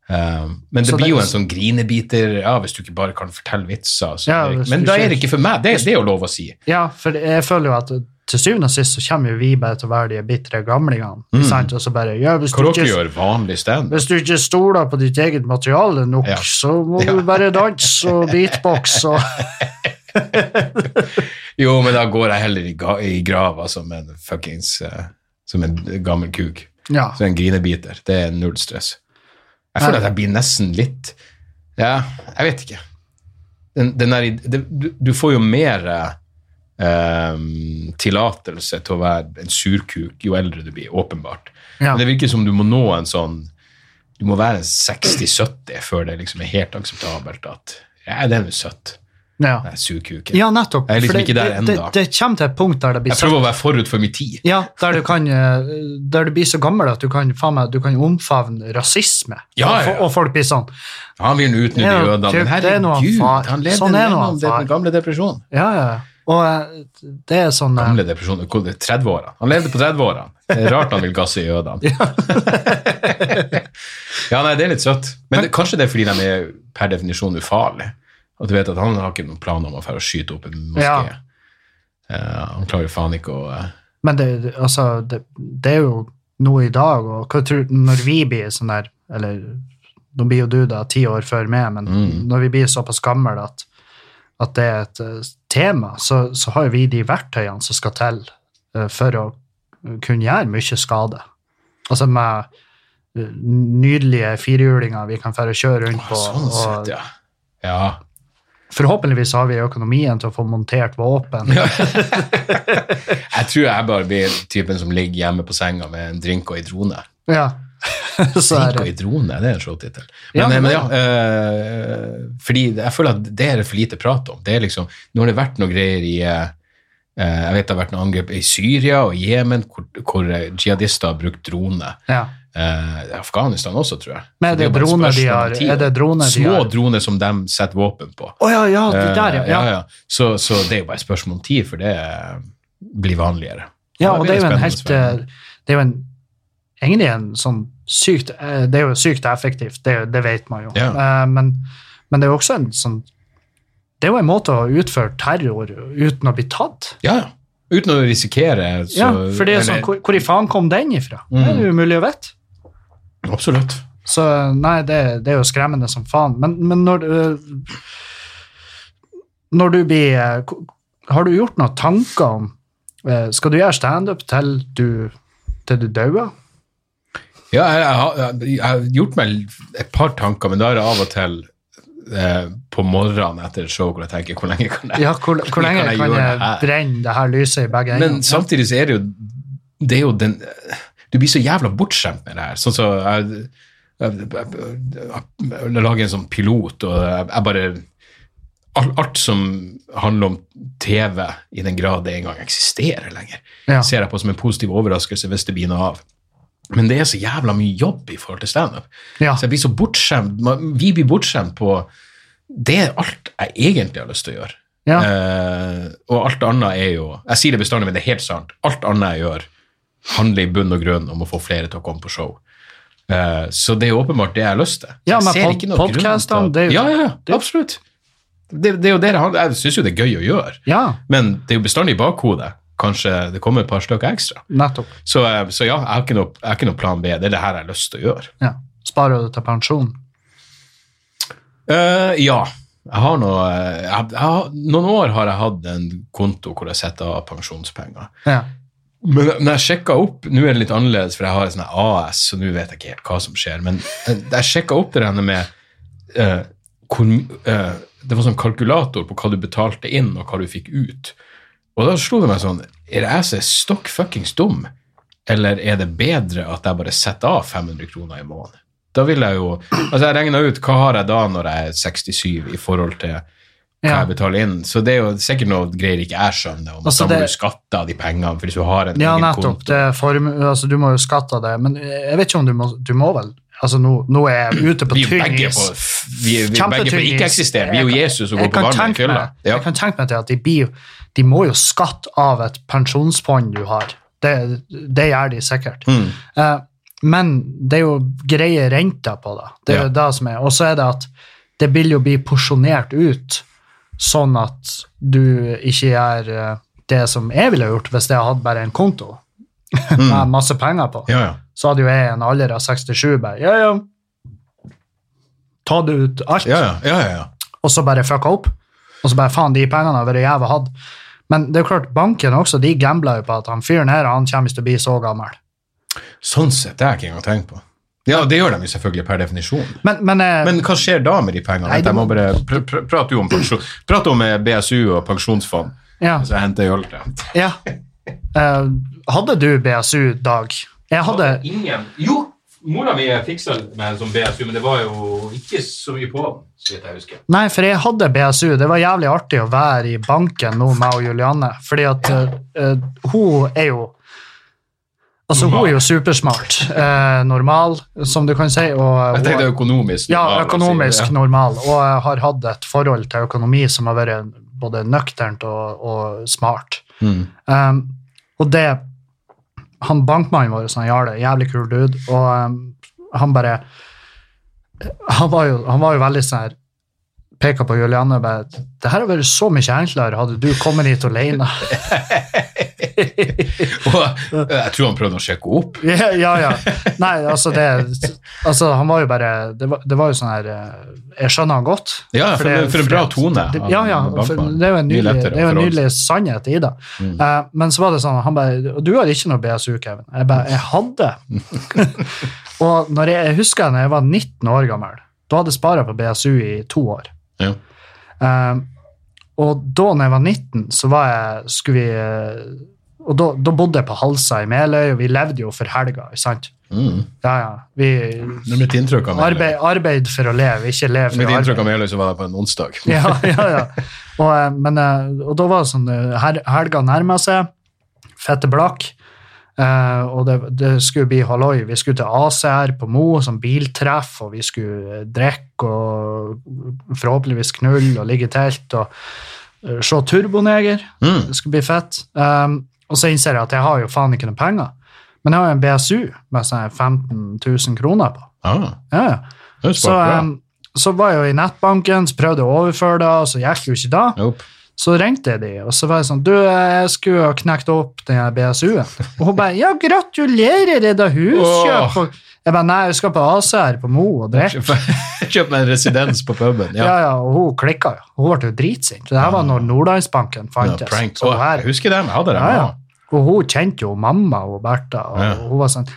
Speaker 2: Um, men det
Speaker 1: Så det-
Speaker 2: blir jo en sånn grinebiter ja, hvis du ikke bare kan fortelle vitser. Så,
Speaker 1: Ja,
Speaker 2: det-
Speaker 1: hvis
Speaker 2: men
Speaker 1: du
Speaker 2: da er
Speaker 1: ikke-
Speaker 2: det ikke for meg. Det, det er jo lov å si.
Speaker 1: ja, for jeg føler jo at til syvende og sist så kommer jo vi bare til å være de bitre gamlingene.
Speaker 2: Mm.
Speaker 1: Sant? Og så bare ja, hvis,
Speaker 2: Hva
Speaker 1: du
Speaker 2: dere
Speaker 1: ikke,
Speaker 2: gjør vanlig stand?
Speaker 1: hvis du ikke stoler på ditt eget materiale nok,
Speaker 2: Ja.
Speaker 1: så må
Speaker 2: Ja.
Speaker 1: du bare danse og beatbox og
Speaker 2: Jo, men da går jeg heller i, ga, i grava som en fuckings eh, Som en gammel kuk.
Speaker 1: Ja.
Speaker 2: Så en grinebiter. Det er null stress. Jeg føler at jeg blir nesten litt Ja, jeg vet ikke. Den, den der, id- det, du, du får jo mer eh, um, tillatelse til å være en surkuk jo eldre du blir, åpenbart.
Speaker 1: Ja.
Speaker 2: Men det virker som du må nå en sånn Du må være en 60-70 før det liksom er helt akseptabelt at Ja, det er jo søtt.
Speaker 1: Ja,
Speaker 2: Det er surkuken.
Speaker 1: ja nettopp.
Speaker 2: Jeg er liksom
Speaker 1: for det-
Speaker 2: ikke der
Speaker 1: det- det,
Speaker 2: enda.
Speaker 1: det kommer til et punkt der det blir
Speaker 2: Jeg prøver å være forut for min tid.
Speaker 1: Ja, der du, kan, eh, der du blir så gammel at du kan, faen meg, du kan omfavne rasisme.
Speaker 2: Ja,
Speaker 1: Og,
Speaker 2: ja, ja.
Speaker 1: fo- og folk blir sånn
Speaker 2: Han vil nå utnytte
Speaker 1: Ja,
Speaker 2: jødene. Men
Speaker 1: det er noe han
Speaker 2: herregud,
Speaker 1: far-
Speaker 2: han levde
Speaker 1: sånn er noe han
Speaker 2: gjennom
Speaker 1: far.
Speaker 2: den gamle depresjonen.
Speaker 1: Ja, ja. ja. Og eh, det er sånn eh,
Speaker 2: Gamle depresjonen, hvor- 30-årene. Han levde på 30-årene. Det er Rart han vil gasse jødene. ja, nei, det er litt søtt. Men det, kanskje det er fordi de er per definisjon ufarlige. At du vet at han har ikke noen plan om å fære og skyte opp en moské.
Speaker 1: Ja.
Speaker 2: Eh, han klarer faen ikke å eh,
Speaker 1: Men det, det- altså, det, det er jo noe i dag, og hva tror, når vi blir sånn der Eller nå blir jo du da ti år før meg, men
Speaker 2: Mm.
Speaker 1: når vi blir såpass gamle at, at det er et eh, tema, så, så har jo vi de verktøyene som skal til eh, for å kunne gjøre mye skade. Altså med eh, nydelige firehjulinger vi kan fære og kjøre rundt på.
Speaker 2: Sånn
Speaker 1: og
Speaker 2: sett, ja. Ja.
Speaker 1: Forhåpentligvis har vi økonomien til å få montert våpen.
Speaker 2: Jeg tror jeg bare blir typen som ligger hjemme på senga med en drink og ei drone.
Speaker 1: Ja. så er
Speaker 2: Tenk
Speaker 1: det
Speaker 2: og idrone, det er en showtittel. Men,
Speaker 1: Ja, men-
Speaker 2: men ja, eh, fordi jeg føler at det er det for lite prat om. Det er liksom, nå har det vært noe greier i eh, eh, Jeg vet det har vært noen angrep i Syria og Jemen, hvor, hvor eh, jihadister har brukt drone.
Speaker 1: ja.
Speaker 2: Eh, Afghanistan også, tror jeg.
Speaker 1: Men er
Speaker 2: Så
Speaker 1: det
Speaker 2: jo bare et
Speaker 1: droner de
Speaker 2: spørsmål om
Speaker 1: har-
Speaker 2: tid.
Speaker 1: er det droner de
Speaker 2: Små
Speaker 1: har?
Speaker 2: droner som de setter våpen på.
Speaker 1: Å ja, ja, de der,
Speaker 2: Eh,
Speaker 1: ja. ja.
Speaker 2: ja, ja. Så, så det er jo bare et spørsmål om tid, for det eh, blir vanligere.
Speaker 1: Ja, og
Speaker 2: det
Speaker 1: det er
Speaker 2: blir
Speaker 1: jo en helt
Speaker 2: spennende
Speaker 1: eh, Det er jo en, egentlig en sånn sykt eh, Det er jo sykt effektivt, det, er jo- det vet man jo.
Speaker 2: Ja.
Speaker 1: Eh, Men, men det er jo også en sånn Det er jo en måte å utføre terror uten å bli tatt.
Speaker 2: Ja, ja. Uten å risikere. Så,
Speaker 1: ja, for det er sånn,
Speaker 2: eller- Mm.
Speaker 1: hvor, hvor i faen kom den ifra? Det er jo umulig å vite.
Speaker 2: Absolutt.
Speaker 1: Så nei, det, det er jo skremmende som faen. Men, men når du eh, Når du blir eh, ko- Har du gjort noen tanker om eh, Skal du gjøre standup til du til du dauer?
Speaker 2: Ja, jeg, jeg, har- jeg, har gjort meg et par tanker, men da er det av og til eh, på morgenen etter et show hvor jeg tenker hvor lenge kan jeg
Speaker 1: Ja, hvor, hvor lenge
Speaker 2: Kan jeg
Speaker 1: kan
Speaker 2: gjøre
Speaker 1: jeg
Speaker 2: det her?
Speaker 1: brenne det her lyset i begge
Speaker 2: Men
Speaker 1: ender?
Speaker 2: samtidig så er det jo det er jo den Du blir så jævla bortskjemt med det her. Sånn så jeg, jeg, jeg, jeg, jeg lager en sånn pilot, og jeg, jeg bare alt, alt som handler om TV, i den grad det engang eksisterer lenger,
Speaker 1: Ja.
Speaker 2: ser jeg på som en positiv overraskelse hvis det blir noe av. Men det er så jævla mye jobb i forhold til standup.
Speaker 1: Ja.
Speaker 2: Så jeg blir så bortskjemt. Man- Vi blir bortskjemt på Det er alt jeg egentlig har lyst til å gjøre.
Speaker 1: Ja.
Speaker 2: Eh, og alt annet er jo Jeg sier det bestandig, men det er helt sant. Alt annet jeg gjør, handler i bunn og grunn om å få flere til å komme på show. Eh, så det er jo åpenbart det jeg har lyst til.
Speaker 1: Ja,
Speaker 2: Jeg
Speaker 1: men
Speaker 2: ser
Speaker 1: pod-
Speaker 2: ikke noe grunn til
Speaker 1: podcastene,
Speaker 2: at-
Speaker 1: det er jo-
Speaker 2: Ja, ja, ja, absolutt. Det, det er jo det det handler Jeg syns jo det er gøy å gjøre,
Speaker 1: ja,
Speaker 2: men det er jo bestandig i bakhodet. Kanskje det kommer et par stykker ekstra.
Speaker 1: nettopp.
Speaker 2: Så, eh, så ja, jeg har, ikke noe, jeg har ikke noe plan B. Det er det her jeg har lyst til å gjøre.
Speaker 1: Ja. Sparer du til pensjon?
Speaker 2: Eh, ja. Jeg har noe, jeg, jeg, har- noen år har jeg hatt en konto hvor jeg setter av pensjonspenger.
Speaker 1: Ja.
Speaker 2: Men når jeg sjekka opp Nå er det litt annerledes, for jeg har en sånn her AS, så nå vet jeg ikke helt hva som skjer. Men jeg, jeg sjekka opp det der med eh, hvor, my- eh, Det var sånn kalkulator på hva du betalte inn, og hva du fikk ut. Og da slo det meg sånn Er det jeg som er stokk fuckings dum, eller er det bedre at jeg bare setter av 500 kroner i måneden? Da vil jeg jo Altså, jeg regna ut hva har jeg da når jeg er 67 i forhold til hva
Speaker 1: Ja.
Speaker 2: jeg betaler inn. Så det er jo sikkert noe greier ikke jeg skjønner. om
Speaker 1: Altså,
Speaker 2: Da må
Speaker 1: det-
Speaker 2: du skatte av de pengene, for hvis du har en
Speaker 1: Ja,
Speaker 2: egen
Speaker 1: nettopp.
Speaker 2: konto
Speaker 1: Det er form, altså, du må jo skatte av det, men jeg vet ikke om du må, du må vel? Altså, nå, nå er jeg ute på
Speaker 2: Vi er jo
Speaker 1: tynn
Speaker 2: begge
Speaker 1: is.
Speaker 2: på, vi er, vi er begge på
Speaker 1: Kjempetynn is.
Speaker 2: ikke-eksisterende. Vi er jo
Speaker 1: Jeg-
Speaker 2: Jesus som
Speaker 1: jeg
Speaker 2: går på
Speaker 1: kan
Speaker 2: vannet i
Speaker 1: tenke
Speaker 2: fylla.
Speaker 1: meg-
Speaker 2: Ja.
Speaker 1: Jeg kan tenke meg til at de, blir, jo- de må jo skatte av et pensjonsfond du har. Det, det gjør de sikkert.
Speaker 2: Mm.
Speaker 1: Eh, men det er jo greie renter på det. Det er jo det som er. Og så er det at det vil jo bli porsjonert ut, sånn at du ikke gjør eh, det som jeg ville gjort hvis jeg hadde bare en konto med masse penger på
Speaker 2: Mm. Ja, ja.
Speaker 1: så hadde jo jeg i en alder av 67 bare ja, ja. Ta det ut alt,
Speaker 2: Ja, ja, ja, ja, ja.
Speaker 1: og så bare fucka opp. Og så bare faen, de pengene har vært jævla hatt. Men det er jo klart, banken også, de gambler jo på at han fyren her han kommer ikke til å bli så gammel.
Speaker 2: Sånn sett, det har jeg ikke engang tenkt på. Ja, det gjør de jo selvfølgelig per definisjon.
Speaker 1: Men, men, eh,
Speaker 2: Men hva skjer da med de pengene?
Speaker 1: Nei,
Speaker 2: Nei,
Speaker 1: det
Speaker 2: må
Speaker 1: må-
Speaker 2: bare pr pr Prat jo om, pensjon, prat om eh, BSU og pensjonsfond,
Speaker 1: ja,
Speaker 2: så jeg henter øl til dem.
Speaker 1: ja. Eh, hadde du BSU, Dag? Jeg hadde
Speaker 2: Ingen Jo, mora mi fiksa meg som BSU, men det var jo ikke så mye på den, så vidt jeg husker.
Speaker 1: Nei, for jeg hadde BSU. Det var jævlig artig å være i banken nå, meg og Julianne. Fordi at eh, eh, hun er jo Altså, hun er jo supersmart. eh, normal, som du kan si. Og,
Speaker 2: Jeg
Speaker 1: hun-
Speaker 2: tenkte økonomisk.
Speaker 1: ja,
Speaker 2: normal,
Speaker 1: økonomisk
Speaker 2: altså. Ja.
Speaker 1: normal. Og jeg har hatt et forhold til økonomi som har vært både nøkternt og, og smart.
Speaker 2: Mm.
Speaker 1: Um, og det Han bankmannen vår, han Jarle, jævlig kul dude, og um, han bare Han var jo, han var jo veldig sånn her Peka på Julianne og bare Det her hadde vært så mye enklere hadde du kommet hit alene.
Speaker 2: Og eh, jeg tror han prøvde å sjekke opp.
Speaker 1: ja, ja, ja. Nei, altså det Altså, han var jo bare Det var, det var jo sånn her eh, Jeg skjønner han godt.
Speaker 2: Ja, for,
Speaker 1: det-
Speaker 2: for en bra
Speaker 1: det-
Speaker 2: tone.
Speaker 1: det-
Speaker 2: av
Speaker 1: Ja, ja.
Speaker 2: Bankman.
Speaker 1: For det er jo en
Speaker 2: Mye
Speaker 1: nydelig,
Speaker 2: lettere Mm.
Speaker 1: det er jo
Speaker 2: å
Speaker 1: en
Speaker 2: forholde seg.
Speaker 1: nydelig sannhet i det. Eh, men så var det sånn, han bare Og du har ikke noe BSU, Kevin. Jeg bare Jeg hadde. og når jeg, jeg husker når jeg var 19 år gammel, da hadde jeg spara på BSU i to år.
Speaker 2: Ja.
Speaker 1: Eh, og da når jeg var 19, så var jeg Skulle vi eh, Og da, da bodde jeg på Halsa i Meløy, og vi levde jo for helga, ikke sant?
Speaker 2: Mm.
Speaker 1: Ja, ja. Vi
Speaker 2: Men Mitt inntrykk av Meløy-
Speaker 1: arbeid, arbeid for å leve, ikke leve for
Speaker 2: mitt
Speaker 1: å arbeide.
Speaker 2: inntrykk av Meløy så var det på en onsdag.
Speaker 1: Ja, ja, ja. Og, eh, men, eh, og da var det sånn eh, her- Helga nærma seg, fette blakk, eh, og det, det skulle bli halloi. Vi skulle til ACR på Mo, sånn biltreff, og vi skulle eh, drikke og forhåpentligvis knulle og ligge i telt og eh, se Turboneger.
Speaker 2: Mm.
Speaker 1: Det skulle bli fett. Um, Og så innser jeg at jeg har jo faen ikke noen penger. Men jeg har jo en BSU med sånn 15 000 kroner på.
Speaker 2: Ah,
Speaker 1: Ja, ja.
Speaker 2: det er
Speaker 1: Så, ehm,
Speaker 2: smart, bra.
Speaker 1: em, så var jeg jo i nettbanken, så prøvde jeg å overføre det, og så gikk jo ikke det.
Speaker 2: Jopp.
Speaker 1: Så ringte jeg de, og så var jeg sånn Du, jeg skulle ha knekt opp den her BSU-en. Og hun bare Ja, gratulerer, er det huskjøp? Og Jeg bare Nei, jeg skal på ACR på Mo og drikke.
Speaker 2: Kjøp meg en residens på puben.
Speaker 1: Ja.
Speaker 2: Ja.
Speaker 1: eh. ja, og hun klikka jo. Hun ble jo dritsint. Det her var når Nordlandsbanken
Speaker 2: Ja,
Speaker 1: fantes.
Speaker 2: prank.
Speaker 1: Så
Speaker 2: Å,
Speaker 1: her-
Speaker 2: jeg husker dem. Jeg hadde dem
Speaker 1: Ja, ja.
Speaker 2: også.
Speaker 1: Og hun kjente jo mamma og Bertha, og
Speaker 2: Ja.
Speaker 1: hun var sånn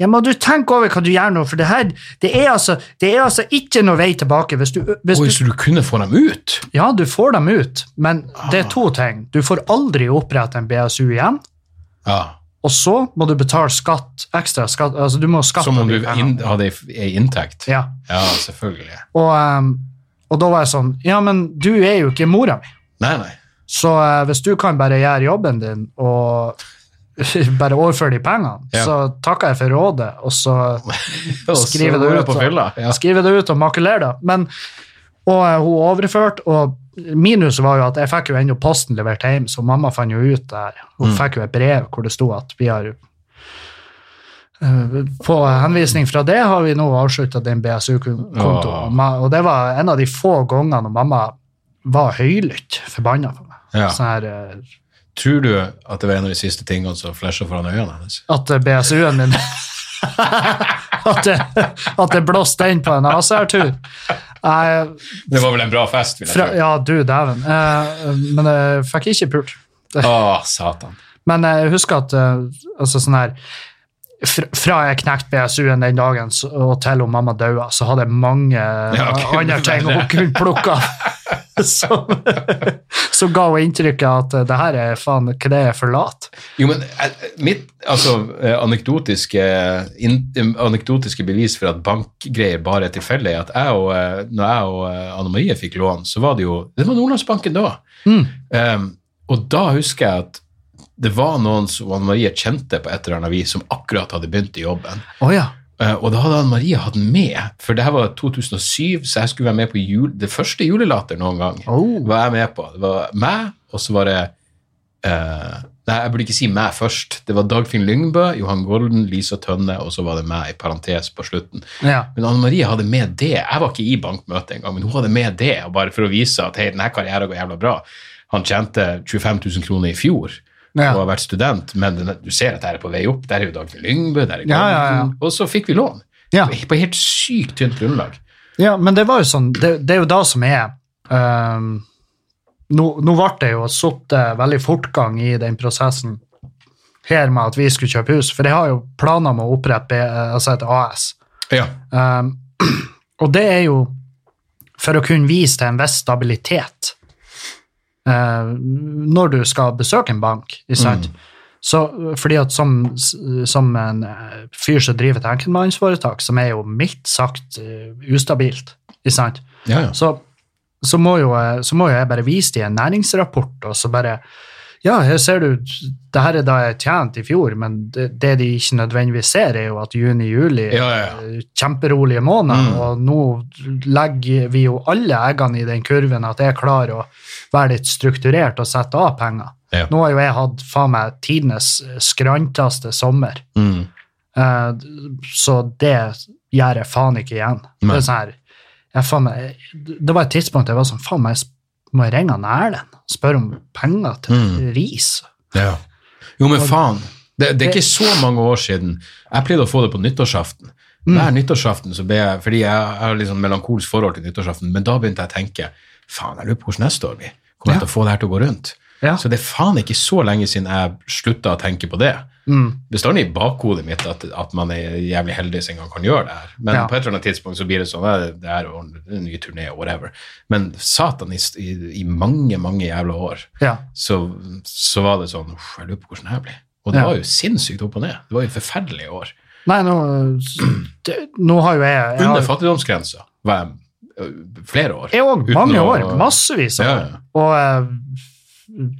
Speaker 1: ja, men du tenk over hva du gjør nå, for det her, det er altså, det er altså ikke noe vei tilbake. Hvis du, hvis
Speaker 2: Oi,
Speaker 1: du,
Speaker 2: så du kunne få dem ut?
Speaker 1: ja, du får dem ut, men
Speaker 2: Ah.
Speaker 1: det er to ting. Du får aldri opprette en BSU igjen,
Speaker 2: Ja.
Speaker 1: og så må du betale skatt, ekstra skatt, altså du må skatte.
Speaker 2: Som om
Speaker 1: de
Speaker 2: du
Speaker 1: pengene.
Speaker 2: inn, hadde ei inntekt?
Speaker 1: Ja,
Speaker 2: Ja, selvfølgelig.
Speaker 1: og, ehm, og da var jeg sånn, ja, men du er jo ikke mora mi,
Speaker 2: Nei, nei.
Speaker 1: så eh, hvis du kan bare gjøre jobben din, og bare overføre de pengene,
Speaker 2: Ja.
Speaker 1: så takker jeg for rådet, og så...
Speaker 2: Og så
Speaker 1: Skrive det
Speaker 2: var
Speaker 1: ut,
Speaker 2: på
Speaker 1: da.
Speaker 2: fylla. Ja.
Speaker 1: skrive det ut og makulere det. Men, og eh, hun overførte, og minuset var jo at jeg fikk jo ennå posten levert hjem, så mamma fant jo ut det her. Hun fikk jo et brev hvor det sto at vi har eh, på henvisning fra det har vi nå avslutta den
Speaker 2: Åh.
Speaker 1: BSU-kontoen. Og det var en av de få gangene når mamma var høylytt forbanna på meg.
Speaker 2: Ja.
Speaker 1: Sånn her, eh,
Speaker 2: Tror du at det var en av de siste tingene som flasha foran øynene hennes?
Speaker 1: at BSU-en min At det, at det blåste inn på en ACR-tur. Nei,
Speaker 2: Det var vel en bra fest, vil jeg
Speaker 1: Fra,
Speaker 2: tro.
Speaker 1: ja, du, dæven. Eh, men jeg fikk ikke pult.
Speaker 2: Å, satan.
Speaker 1: Men jeg husker at eh, altså sånn her fra, fra jeg knekte BSU-en den dagen så- og til hun mamma daua, så hadde jeg mange eh,
Speaker 2: ok,
Speaker 1: andre ting
Speaker 2: verre.
Speaker 1: hun kunne plukke av. som, som ga hun inntrykket at eh, det her er faen ikke det jeg forlater.
Speaker 2: Jo, men eh, mitt altså, eh, anekdotiske, in, eh, anekdotiske bevis for at bankgreier bare er tilfeldig, at jeg og, eh, når jeg og eh, Anne Marie fikk lån, så var det jo Det var Nordlandsbanken da.
Speaker 1: Mm.
Speaker 2: Ehm, og da husker jeg at det var noen som Anne Marie kjente på et eller annet vis, som akkurat hadde begynt i jobben.
Speaker 1: Å ja.
Speaker 2: Eh, Og da hadde Anne Marie hatt den med, for det her var 2007, så jeg skulle være med på jul, det første julelater noen gang.
Speaker 1: Oh.
Speaker 2: Var jeg med på. Det var meg, og så var det eh, Nei, jeg burde ikke si meg først. Det var Dagfinn Lyngbø, Johan Golden, Lisa Tønne, og så var det meg i parentes på slutten.
Speaker 1: ja.
Speaker 2: Men Anne Marie hadde med det. Jeg var ikke i bankmøtet engang, men hun hadde med det, og bare for å vise at hei, denne karrieren går jævla bra. Han tjente 25 000 kroner i fjor
Speaker 1: Ja.
Speaker 2: og har vært student, men den, du ser at det her er på vei opp. Der er jo Dagfinn Lyngbø, der er Golden.
Speaker 1: Ja, ja, ja.
Speaker 2: Og så fikk vi lån.
Speaker 1: Ja.
Speaker 2: På helt sykt tynt grunnlag.
Speaker 1: Ja, men det var jo sånn, det, det er jo da som er ehm, nå, nå ble det jo satt veldig fortgang i den prosessen her med at vi skulle kjøpe hus, for jeg har jo planer om å opprette B- eh, altså et AS.
Speaker 2: Ja.
Speaker 1: Ehm, og det er jo for å kunne vise til en viss stabilitet eh, når du skal besøke en bank. Ikke sant? Så, fordi at som, som en eh, fyr som driver et enkeltmannsforetak, som er jo mildt sagt eh, ustabilt, ikke sant?
Speaker 2: ja, ja.
Speaker 1: så, så, må jo, jeg- så må jo jeg bare vise til en næringsrapport, og så bare Ja, her ser du, det her er da jeg tjente i fjor, men det, det de ikke nødvendigvis ser, er jo at juni-juli
Speaker 2: Ja, ja, ja.
Speaker 1: eh, kjemperolige måneder,
Speaker 2: Mm.
Speaker 1: og nå legger vi jo alle eggene i den kurven at jeg klarer å være litt strukturert og sette av penger.
Speaker 2: Ja.
Speaker 1: Nå har jo jeg hatt faen meg tidenes skranteste sommer,
Speaker 2: Mm.
Speaker 1: eh, så det gjør jeg faen ikke igjen.
Speaker 2: Nei.
Speaker 1: Det, er sånn her, jeg faen meg, det var et tidspunkt jeg var sånn, faen meg, må jeg ringe han Erlend og spørre om penger til
Speaker 2: Mm.
Speaker 1: ris?
Speaker 2: Ja. Jo, men faen. Det, det er ikke så mange år siden. Jeg pleide å få det på nyttårsaften.
Speaker 1: Mm.
Speaker 2: Hver nyttårsaften så ble jeg, fordi jeg har litt sånn melankolsk forhold til nyttårsaften, men da begynte jeg å tenke faen, jeg lurer på hvordan neste år blir. Kommer jeg
Speaker 1: Ja.
Speaker 2: til å få det her til å gå rundt?
Speaker 1: Ja.
Speaker 2: Så det er faen ikke så lenge siden jeg slutta å tenke på det.
Speaker 1: Mm.
Speaker 2: Bestandig i bakhodet mitt at, at man er jævlig heldig som en gang kan gjøre det her. Men
Speaker 1: Ja.
Speaker 2: på et eller annet tidspunkt så blir det sånn eh, det er jo en ny turné og whatever. Men satan, i, st- i, i mange, mange jævla år
Speaker 1: Ja.
Speaker 2: så, så var det sånn Uff, jeg lurer på hvordan det her blir. Og det
Speaker 1: Ja.
Speaker 2: var jo sinnssykt opp og ned. Det var jo forferdelig i år.
Speaker 1: Nei, nå, det, nå har jo jeg... jeg har-
Speaker 2: Under fattigdomsgrensa var jeg ø, flere år.
Speaker 1: Jeg òg.
Speaker 2: Uten
Speaker 1: Mange
Speaker 2: å-
Speaker 1: år. Massevis av
Speaker 2: Ja,
Speaker 1: år. Og eh,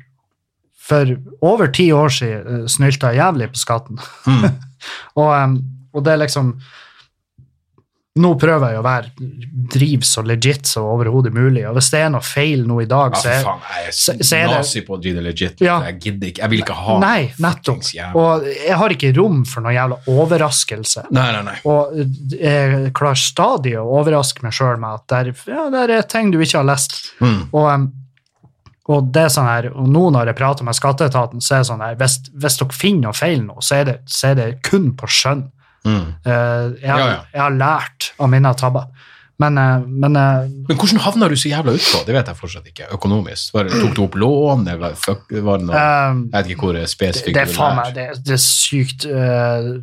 Speaker 1: for over ti år siden eh, snylta jeg jævlig på skatten.
Speaker 2: Mm.
Speaker 1: Og, eh, og det er liksom Nå prøver jeg å være driv så legit som overhodet mulig, og hvis det er noe feil nå i dag,
Speaker 2: Ja,
Speaker 1: så
Speaker 2: for
Speaker 1: er
Speaker 2: faen, jeg er
Speaker 1: så- så er det-
Speaker 2: nazi på å drive legit.
Speaker 1: Ja.
Speaker 2: Jeg gidder ikke. Jeg vil ikke ha
Speaker 1: Nei, nettopp.
Speaker 2: fuckings jævla-
Speaker 1: Og jeg har ikke rom for noen jævla overraskelse.
Speaker 2: Nei, nei, nei.
Speaker 1: Og eh, jeg klarer stadig å overraske meg sjøl med at der, ja, der er ting du ikke har lest.
Speaker 2: Mm.
Speaker 1: Og, em, og det er sånn her, og nå når jeg prater med skatteetaten, så er det sånn her, hvis, hvis dere finner noe feil nå, så er det, så er det kun på skjønn.
Speaker 2: Mm.
Speaker 1: Eh, jeg, har-
Speaker 2: Ja, ja.
Speaker 1: jeg har lært av mine tabber. Men, eh, men eh,
Speaker 2: Men hvordan havna du så jævla utpå? Det vet jeg fortsatt ikke. Økonomisk. Var, det- tok du opp lån? Det var, fuck, var det noe?
Speaker 1: em,
Speaker 2: jeg vet ikke hvor eh,
Speaker 1: det,
Speaker 2: spesifikt
Speaker 1: Eh, det er faen meg,
Speaker 2: det.
Speaker 1: det, det er sykt. eh,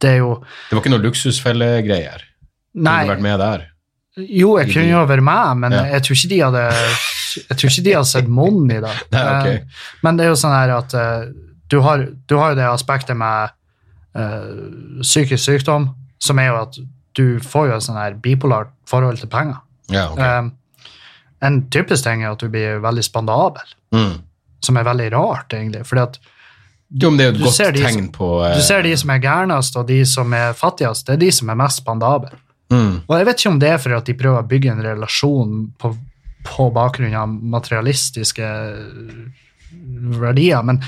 Speaker 1: det er jo,
Speaker 2: Det var ikke noe luksusfellegreier? Kunne du
Speaker 1: nei,
Speaker 2: vært med der?
Speaker 1: jo, jeg kunne jo vært med, men
Speaker 2: Ja.
Speaker 1: jeg tror ikke de hadde, jeg tror ikke de hadde sett månen i det.
Speaker 2: Nei, ok.
Speaker 1: Eh, Men det er jo sånn her at eh, du, har, du har jo det aspektet med eh, psykisk sykdom, som er jo at du får jo et sånn her bipolart forhold til penger.
Speaker 2: Ja, ok.
Speaker 1: Eh, en typisk ting er at du blir veldig spandabel,
Speaker 2: Mm.
Speaker 1: som er veldig rart, egentlig. fordi at
Speaker 2: Jo, men det er jo
Speaker 1: du
Speaker 2: et
Speaker 1: ser
Speaker 2: godt
Speaker 1: de som-
Speaker 2: tegn på eh,
Speaker 1: du ser de som er gærnest, og de som er fattigst, det er de som er mest spandabel.
Speaker 2: mm.
Speaker 1: Og jeg vet ikke om det er for at de prøver å bygge en relasjon på, på bakgrunn av materialistiske verdier, men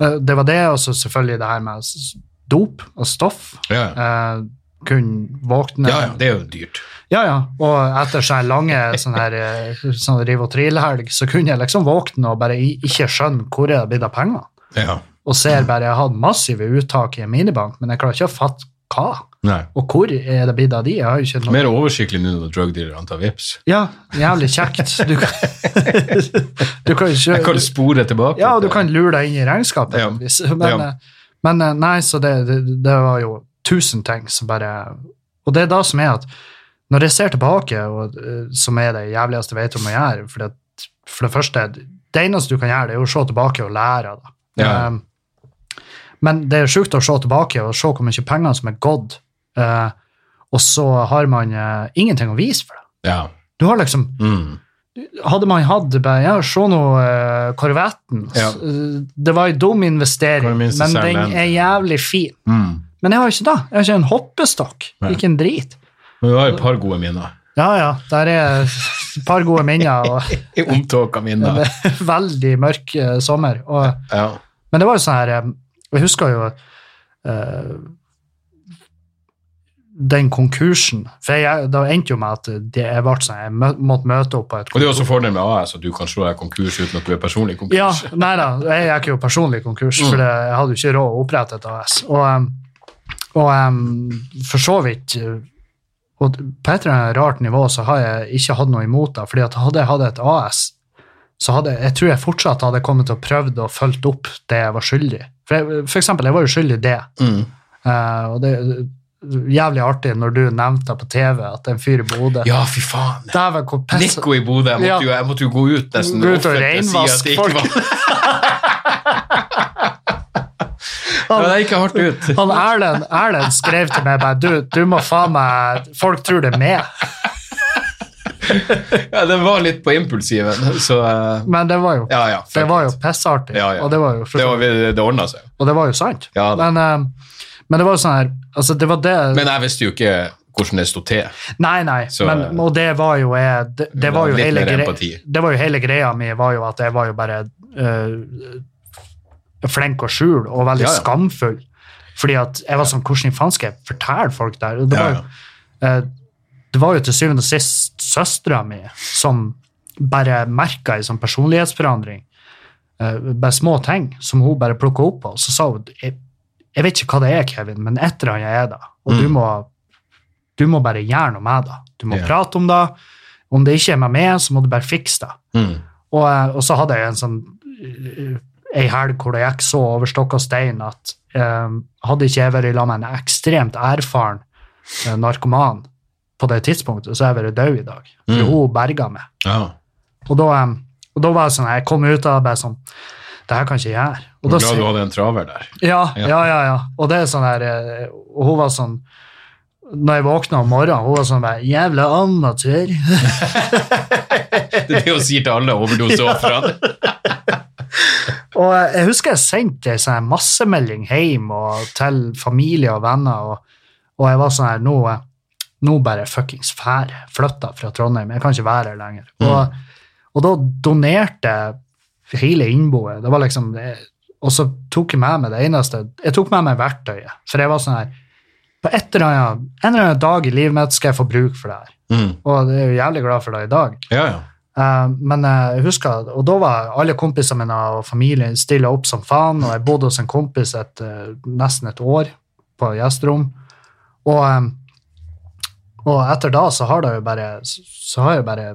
Speaker 1: eh, det var det, og så selvfølgelig det her med s- dop og stoff.
Speaker 2: ja, ja.
Speaker 1: Eh, kunne våkne
Speaker 2: ja, ja. Det er jo dyrt.
Speaker 1: Ja, ja. Og etter sånne lange sånne her, eh, sånn riv og trill-helg, så kunne jeg liksom våkne og bare i- ikke skjønne hvor er det blitt av penger.
Speaker 2: Ja.
Speaker 1: Og
Speaker 2: Mm.
Speaker 1: ser bare jeg har hatt massive uttak i en minibank, men jeg klarer ikke å fatte hva.
Speaker 2: Nei.
Speaker 1: Og hvor er det blitt av de? Jeg har jo ikke noe
Speaker 2: Mer oversiktlig nå når drug dealerne tar vips.
Speaker 1: Ja, jævlig kjekt. Du kan, du kan ikke
Speaker 2: Jeg kan spore tilbake.
Speaker 1: Ja, og du
Speaker 2: til-
Speaker 1: kan lure deg inn i regnskapet.
Speaker 2: Ja.
Speaker 1: på en vis. Men,
Speaker 2: Ja.
Speaker 1: eh, men eh, nei, så det, det, det var jo tusen ting som bare Og det er da som er at når jeg ser tilbake, og, eh, som er det jævligste jeg vet om å gjøre for det, for det første, det eneste du kan gjøre, det er jo å se tilbake og lære av det.
Speaker 2: Ja.
Speaker 1: Eh, men det er sjukt å se tilbake og se hvor mye penger som er gått, eh, og så har man eh, ingenting å vise for det.
Speaker 2: Ja.
Speaker 1: Du har liksom
Speaker 2: Mm.
Speaker 1: hadde man hatt det bare, ja, se nå eh, korvetten.
Speaker 2: Ja.
Speaker 1: S- eh, Det var en dum investering,
Speaker 2: Kan minst
Speaker 1: men
Speaker 2: selge
Speaker 1: den
Speaker 2: den.
Speaker 1: er jævlig fin.
Speaker 2: Mm.
Speaker 1: Men jeg har ikke det. Jeg har ikke en hoppestokk.
Speaker 2: Nei.
Speaker 1: Ikke en drit.
Speaker 2: Men du har et par gode minner.
Speaker 1: Ja, ja, der er et par gode minner og
Speaker 2: Omtåka minner.
Speaker 1: en veldig mørk eh, sommer. Og,
Speaker 2: Ja.
Speaker 1: men det var jo sånn her eh, Jeg husker jo eh, den konkursen. For jeg, det endte jo med at det, jeg, ble sånn, jeg mø- måtte møte opp på et
Speaker 2: Og det er også fordelen med AS, at du kan slå deg konkurs uten at du er personlig konkurs.
Speaker 1: Ja, nei da, jeg gikk jo personlig konkurs,
Speaker 2: Mm.
Speaker 1: for det- jeg hadde jo ikke råd å opprette et AS. Og, em, og em, for så vidt eh, og På et eller annet rart nivå så har jeg ikke hatt noe imot det, fordi at hadde jeg hatt et AS, så hadde jeg tror jeg fortsatt hadde kommet til å prøvd og fulgt opp det jeg var skyldig. For, jeg, for eksempel, jeg var jo skyldig det.
Speaker 2: Mm.
Speaker 1: eh, og det er jævlig artig når du nevnte det på TV at en fyr i Bodø
Speaker 2: ja, fy faen.
Speaker 1: Dæven, hvor piss
Speaker 2: Nico i Bodø. Jeg, måtte
Speaker 1: Altså- Ja.
Speaker 2: jo- jeg måtte jo gå ut nesten.
Speaker 1: Gå ut og
Speaker 2: offentlig og si
Speaker 1: renvaske
Speaker 2: at det ikke
Speaker 1: folk.
Speaker 2: var- Ja, det gikk hardt ut.
Speaker 1: Han Erlend, Erlend skrev til meg bare, du, du må faen meg Folk tror det er meg.
Speaker 2: Ja, den var litt på impulsiven, så eh,
Speaker 1: Men det var jo,
Speaker 2: Ja, ja.
Speaker 1: det var jo pissartig.
Speaker 2: Ja, ja.
Speaker 1: Og det var jo,
Speaker 2: Det, var- det ordna seg.
Speaker 1: og det var jo sant.
Speaker 2: Ja, da.
Speaker 1: men, eh, men det var jo sånn her altså det var det,
Speaker 2: Men jeg visste jo ikke hvordan det sto til.
Speaker 1: Nei, nei.
Speaker 2: Så-
Speaker 1: men, og det var jo jeg Det, det, var, jo
Speaker 2: Litt
Speaker 1: hele
Speaker 2: mer
Speaker 1: grei-
Speaker 2: empati.
Speaker 1: det var jo hele greia mi, var jo at jeg var jo bare eh, flink å skjule og veldig
Speaker 2: Ja, ja.
Speaker 1: skamfull. Fordi at jeg var sånn Hvordan i faen skal jeg fortelle folk det her? Og Det
Speaker 2: Ja,
Speaker 1: var jo Eh, det var jo til syvende og sist søstera mi som bare merka en sånn personlighetsforandring. Eh, bare små ting som hun bare plukka opp på. Så sa hun jeg, jeg vet ikke hva det er, Kevin, men et eller annet er det. Og du,
Speaker 2: Mm.
Speaker 1: må, du må bare gjøre noe med det. Du må
Speaker 2: Ja.
Speaker 1: prate om det. Om det ikke er meg med, så må du bare fikse det.
Speaker 2: Mm.
Speaker 1: Og, eh, og så hadde jeg en sånn eh, ei helg hvor det gikk så over stokk og stein at eh, hadde ikke jeg vært i lag med en ekstremt erfaren eh, narkoman på det tidspunktet, så hadde jeg vært død i dag. For
Speaker 2: Mm.
Speaker 1: hun berga meg.
Speaker 2: Ja.
Speaker 1: Og da, eh, og da var jeg sånn, jeg kom ut av det bare sånn Det her kan ikke jeg gjøre. Og da
Speaker 2: Glad
Speaker 1: sier-
Speaker 2: du hadde en traver der.
Speaker 1: ja,
Speaker 2: Ja.
Speaker 1: ja, ja, ja. Og det er sånn her eh, Og hun var sånn Når jeg våkna om morgenen, hun var sånn bare Jævla amatør.
Speaker 2: Det er det hun sier til alle overdoseofrene.
Speaker 1: Og jeg husker jeg sendte en sånn her massemelding hjem og til familie og venner, og, og jeg var sånn her nå, nå bare fuckings fær, flytta fra Trondheim, jeg kan ikke være her lenger. Og, og da donerte jeg hele innboet. Det var liksom, jeg- og så tok jeg med meg det eneste, jeg tok med meg verktøyet, for jeg var sånn her, på et eller annet, en eller annen dag i livet mitt skal jeg få bruk for det her.
Speaker 2: Mm.
Speaker 1: Og jeg er jo jævlig glad for det i dag.
Speaker 2: Ja, ja.
Speaker 1: Eh, men jeg husker, og da var alle kompisene mine og familien stilla opp som faen, og jeg bodde hos en kompis et, eh, nesten et år på gjesterom. Og, eh, og etter da så har det jo bare, så har jeg bare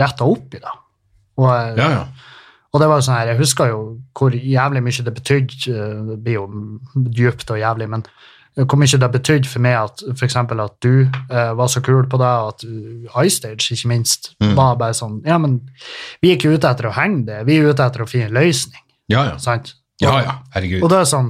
Speaker 1: retta opp i det. Og, eh,
Speaker 2: ja, ja.
Speaker 1: og det var jo sånn her, jeg husker jo hvor jævlig mye det betydde, eh, det blir jo djupt og jævlig, men hvor mye det betydde for meg at for eksempel at du eh, var så kul på det, og at eh, iStage ikke minst
Speaker 2: Mm.
Speaker 1: var bare sånn, ja, men vi er ikke ute etter å henge det, vi er ute etter å finne en løsning,
Speaker 2: Ja, ja.
Speaker 1: sant? Og,
Speaker 2: ja, ja. Herregud.
Speaker 1: Og det er sånn,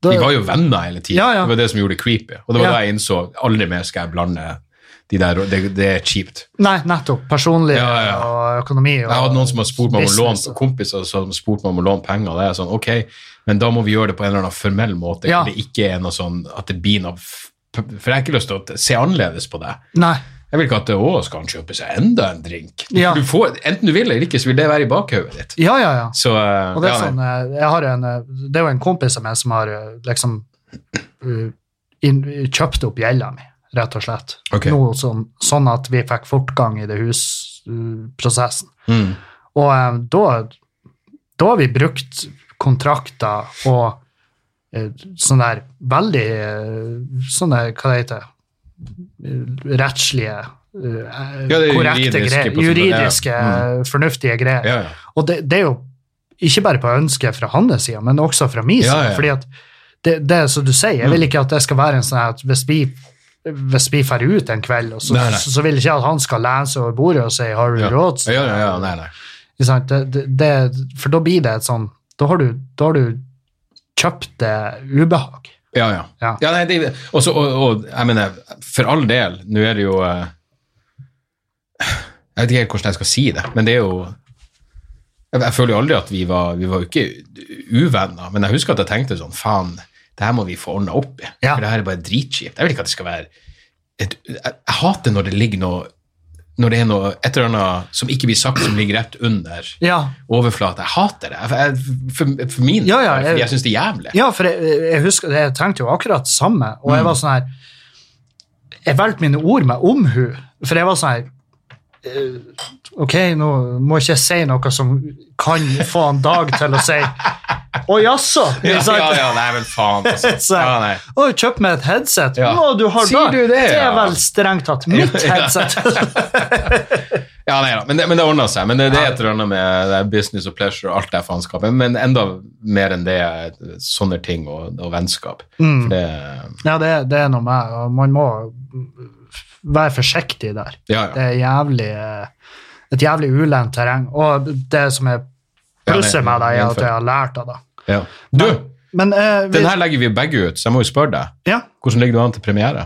Speaker 2: Vi
Speaker 1: det,
Speaker 2: var jo venner hele tiden.
Speaker 1: Ja, ja.
Speaker 2: Det var det som gjorde det creepy. Og det var
Speaker 1: Ja.
Speaker 2: da jeg innså aldri mer skal jeg blande de der Det, det er kjipt.
Speaker 1: nei, nettopp, personlig
Speaker 2: Ja, ja.
Speaker 1: og økonomi. Og,
Speaker 2: Jeg hadde noen som har spurt meg om å
Speaker 1: business.
Speaker 2: låne kompiser som spurte meg om å låne penger. og Det er sånn, ok, men da må vi gjøre det på en eller annen formell måte.
Speaker 1: Ja.
Speaker 2: hvor Det ikke er noe sånn at det blir noe f- For jeg har ikke lyst til å se annerledes på det.
Speaker 1: Nei,
Speaker 2: Jeg vil ikke at å, skal han kjøpe seg enda en drink?
Speaker 1: Ja.
Speaker 2: Du får, enten du vil eller ikke, så vil det være i bakhodet ditt.
Speaker 1: ja, ja, ja.
Speaker 2: Så, eh,
Speaker 1: Og det er
Speaker 2: ja,
Speaker 1: sånn, eh, jeg har en, eh, det er jo en kompis av meg som har eh, liksom eh, inn, kjøpt opp gjelda mi, rett og slett.
Speaker 2: Ok.
Speaker 1: Noe som, sånn at vi fikk fortgang i det husprosessen.
Speaker 2: Mm.
Speaker 1: Og eh, da, da har vi brukt kontrakter og eh, sånne der veldig eh, sånne, hva det heter, eh, rettslige, eh,
Speaker 2: Ja, det er
Speaker 1: korrekte
Speaker 2: juridiske
Speaker 1: greier,
Speaker 2: på sånne- ja. Mm.
Speaker 1: juridiske, eh, fornuftige greier.
Speaker 2: Ja, ja.
Speaker 1: Og det, det er jo ikke bare på ønsket fra hans side, men også fra min side.
Speaker 2: Ja, Mm. ja.
Speaker 1: fordi at det, det er som du sier, jeg vil ikke at det skal være en sånn her at hvis vi hvis vi drar ut en kveld, og så,
Speaker 2: Nei, nei.
Speaker 1: så, så vil jeg ikke at han skal lene seg over bordet og si 'har du
Speaker 2: Ja.
Speaker 1: råd?'
Speaker 2: ja, ja, ja, nei, nei.
Speaker 1: Ikke sant? Det, det, det, for da blir det et sånn Da har du, da har du kjøpt det ubehag.
Speaker 2: Ja, ja.
Speaker 1: Ja.
Speaker 2: ja. nei, det, også, og, og jeg mener, for all del, nå er det jo eh, Jeg vet ikke helt hvordan jeg skal si det, men det er jo Jeg, jeg føler jo aldri at vi var Vi var jo ikke uvenner, men jeg husker at jeg tenkte sånn Faen, det her må vi få ordna opp i.
Speaker 1: Ja.
Speaker 2: For det her er bare dritkjipt. Jeg vil ikke at det skal være et, jeg, jeg hater når det ligger noe Når det er noe et eller annet som ikke blir sagt, som ligger rett under
Speaker 1: Ja,
Speaker 2: overflaten. Jeg hater det. Jeg, jeg, for, for min
Speaker 1: Ja, ja,
Speaker 2: del,
Speaker 1: jeg-
Speaker 2: fordi jeg syns det er jævlig.
Speaker 1: ja for jeg, jeg husker Jeg tenkte jo akkurat det samme, og jeg
Speaker 2: Mm.
Speaker 1: var sånn her Jeg valgte mine ord med omhu, for jeg var sånn her eh, Ok, nå må ikke jeg si noe som kan få en dag til å si Å, jaså?
Speaker 2: Ja,
Speaker 1: Ikke sant?
Speaker 2: ja, ja, nei, vel faen. Altså.
Speaker 1: Så,
Speaker 2: Ja, nei.
Speaker 1: Å, kjøp meg et headset?
Speaker 2: Ja.
Speaker 1: Å, du har
Speaker 2: Sier du det,
Speaker 1: er
Speaker 2: ja?
Speaker 1: vel strengt tatt mitt
Speaker 2: Ja, ja.
Speaker 1: headset.
Speaker 2: Ja, nei da. Men det, men det ordna seg. Men det, det er et eller annet med det er business og pleasure og alt det faenskapet. Men enda mer enn det er sånne ting og, og vennskap.
Speaker 1: Mm.
Speaker 2: For det
Speaker 1: Ja, det, det er noe med og Man må være forsiktig der.
Speaker 2: Ja,
Speaker 1: Det
Speaker 2: ja.
Speaker 1: er jævlig, eh, et jævlig ulendt terreng. Og det som er
Speaker 2: Ja,
Speaker 1: plusset
Speaker 2: det-
Speaker 1: med det, er at
Speaker 2: innenfor.
Speaker 1: jeg har lært av det.
Speaker 2: ja. Du,
Speaker 1: Men eh, vi,
Speaker 2: den her legger vi begge ut, så jeg må jo spørre deg.
Speaker 1: ja,
Speaker 2: Hvordan ligger du an til premiere?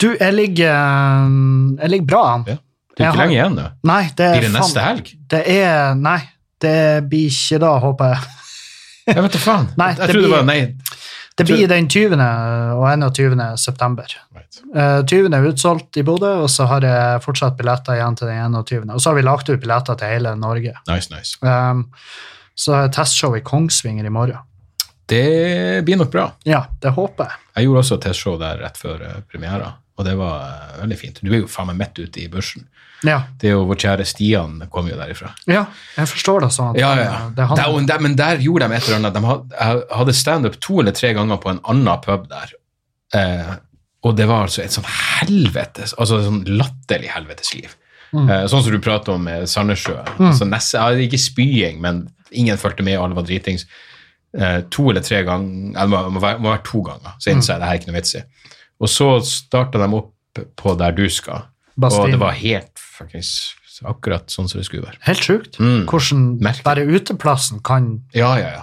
Speaker 1: du, jeg ligger, eh, jeg ligger bra an.
Speaker 2: Ja. Det er
Speaker 1: Jeg
Speaker 2: ikke
Speaker 1: har-
Speaker 2: lenge igjen nå.
Speaker 1: Nei, det er
Speaker 2: Blir det
Speaker 1: faen-
Speaker 2: neste helg?
Speaker 1: Det er Nei, det blir ikke da, håper jeg.
Speaker 2: Jeg vet da faen.
Speaker 1: Nei,
Speaker 2: jeg
Speaker 1: det
Speaker 2: trodde det
Speaker 1: blir-
Speaker 2: var nei.
Speaker 1: Det
Speaker 2: Tror-
Speaker 1: blir den 20. og 21. september. Eh, 20. er utsolgt i Bodø, og så har jeg fortsatt billetter igjen til den 21. Og så har vi lagt ut billetter til hele Norge.
Speaker 2: Nice, nice.
Speaker 1: Um, så har jeg testshow i Kongsvinger i morgen.
Speaker 2: Det blir nok bra.
Speaker 1: Ja, det håper jeg.
Speaker 2: Jeg gjorde også et testshow der rett før eh, premiera, og det var eh, veldig fint. Du er jo faen meg midt ute i børsen.
Speaker 1: Ja,
Speaker 2: Det er jo vår kjære Stian kom jo derifra.
Speaker 1: ja jeg forstår det sånn. at,
Speaker 2: Ja, ja.
Speaker 1: eh, Det
Speaker 2: ja.
Speaker 1: er han-
Speaker 2: Der, og der, men der gjorde de et eller annet. De had- jeg hadde standup to eller tre ganger på en annen pub der. Eh, og det var altså et sånn helvetes, altså et sånn latterlig helvetes liv.
Speaker 1: Mm.
Speaker 2: Eh, sånn som du prater om med Sandnessjø. Altså nest- ja, ikke spying, men ingen fulgte med, alle var dritings. Eh, to eller tre ganger, eller det må, må, være, må være to ganger, så innså jeg det her er ikke noe vits i. Og så starta de opp på der du skal,
Speaker 1: Bastien.
Speaker 2: og det var helt fuckings akkurat sånn som det skulle være.
Speaker 1: Helt sjukt.
Speaker 2: Mm.
Speaker 1: Hvordan
Speaker 2: Merkelig.
Speaker 1: bare uteplassen kan
Speaker 2: Ja, ja, ja.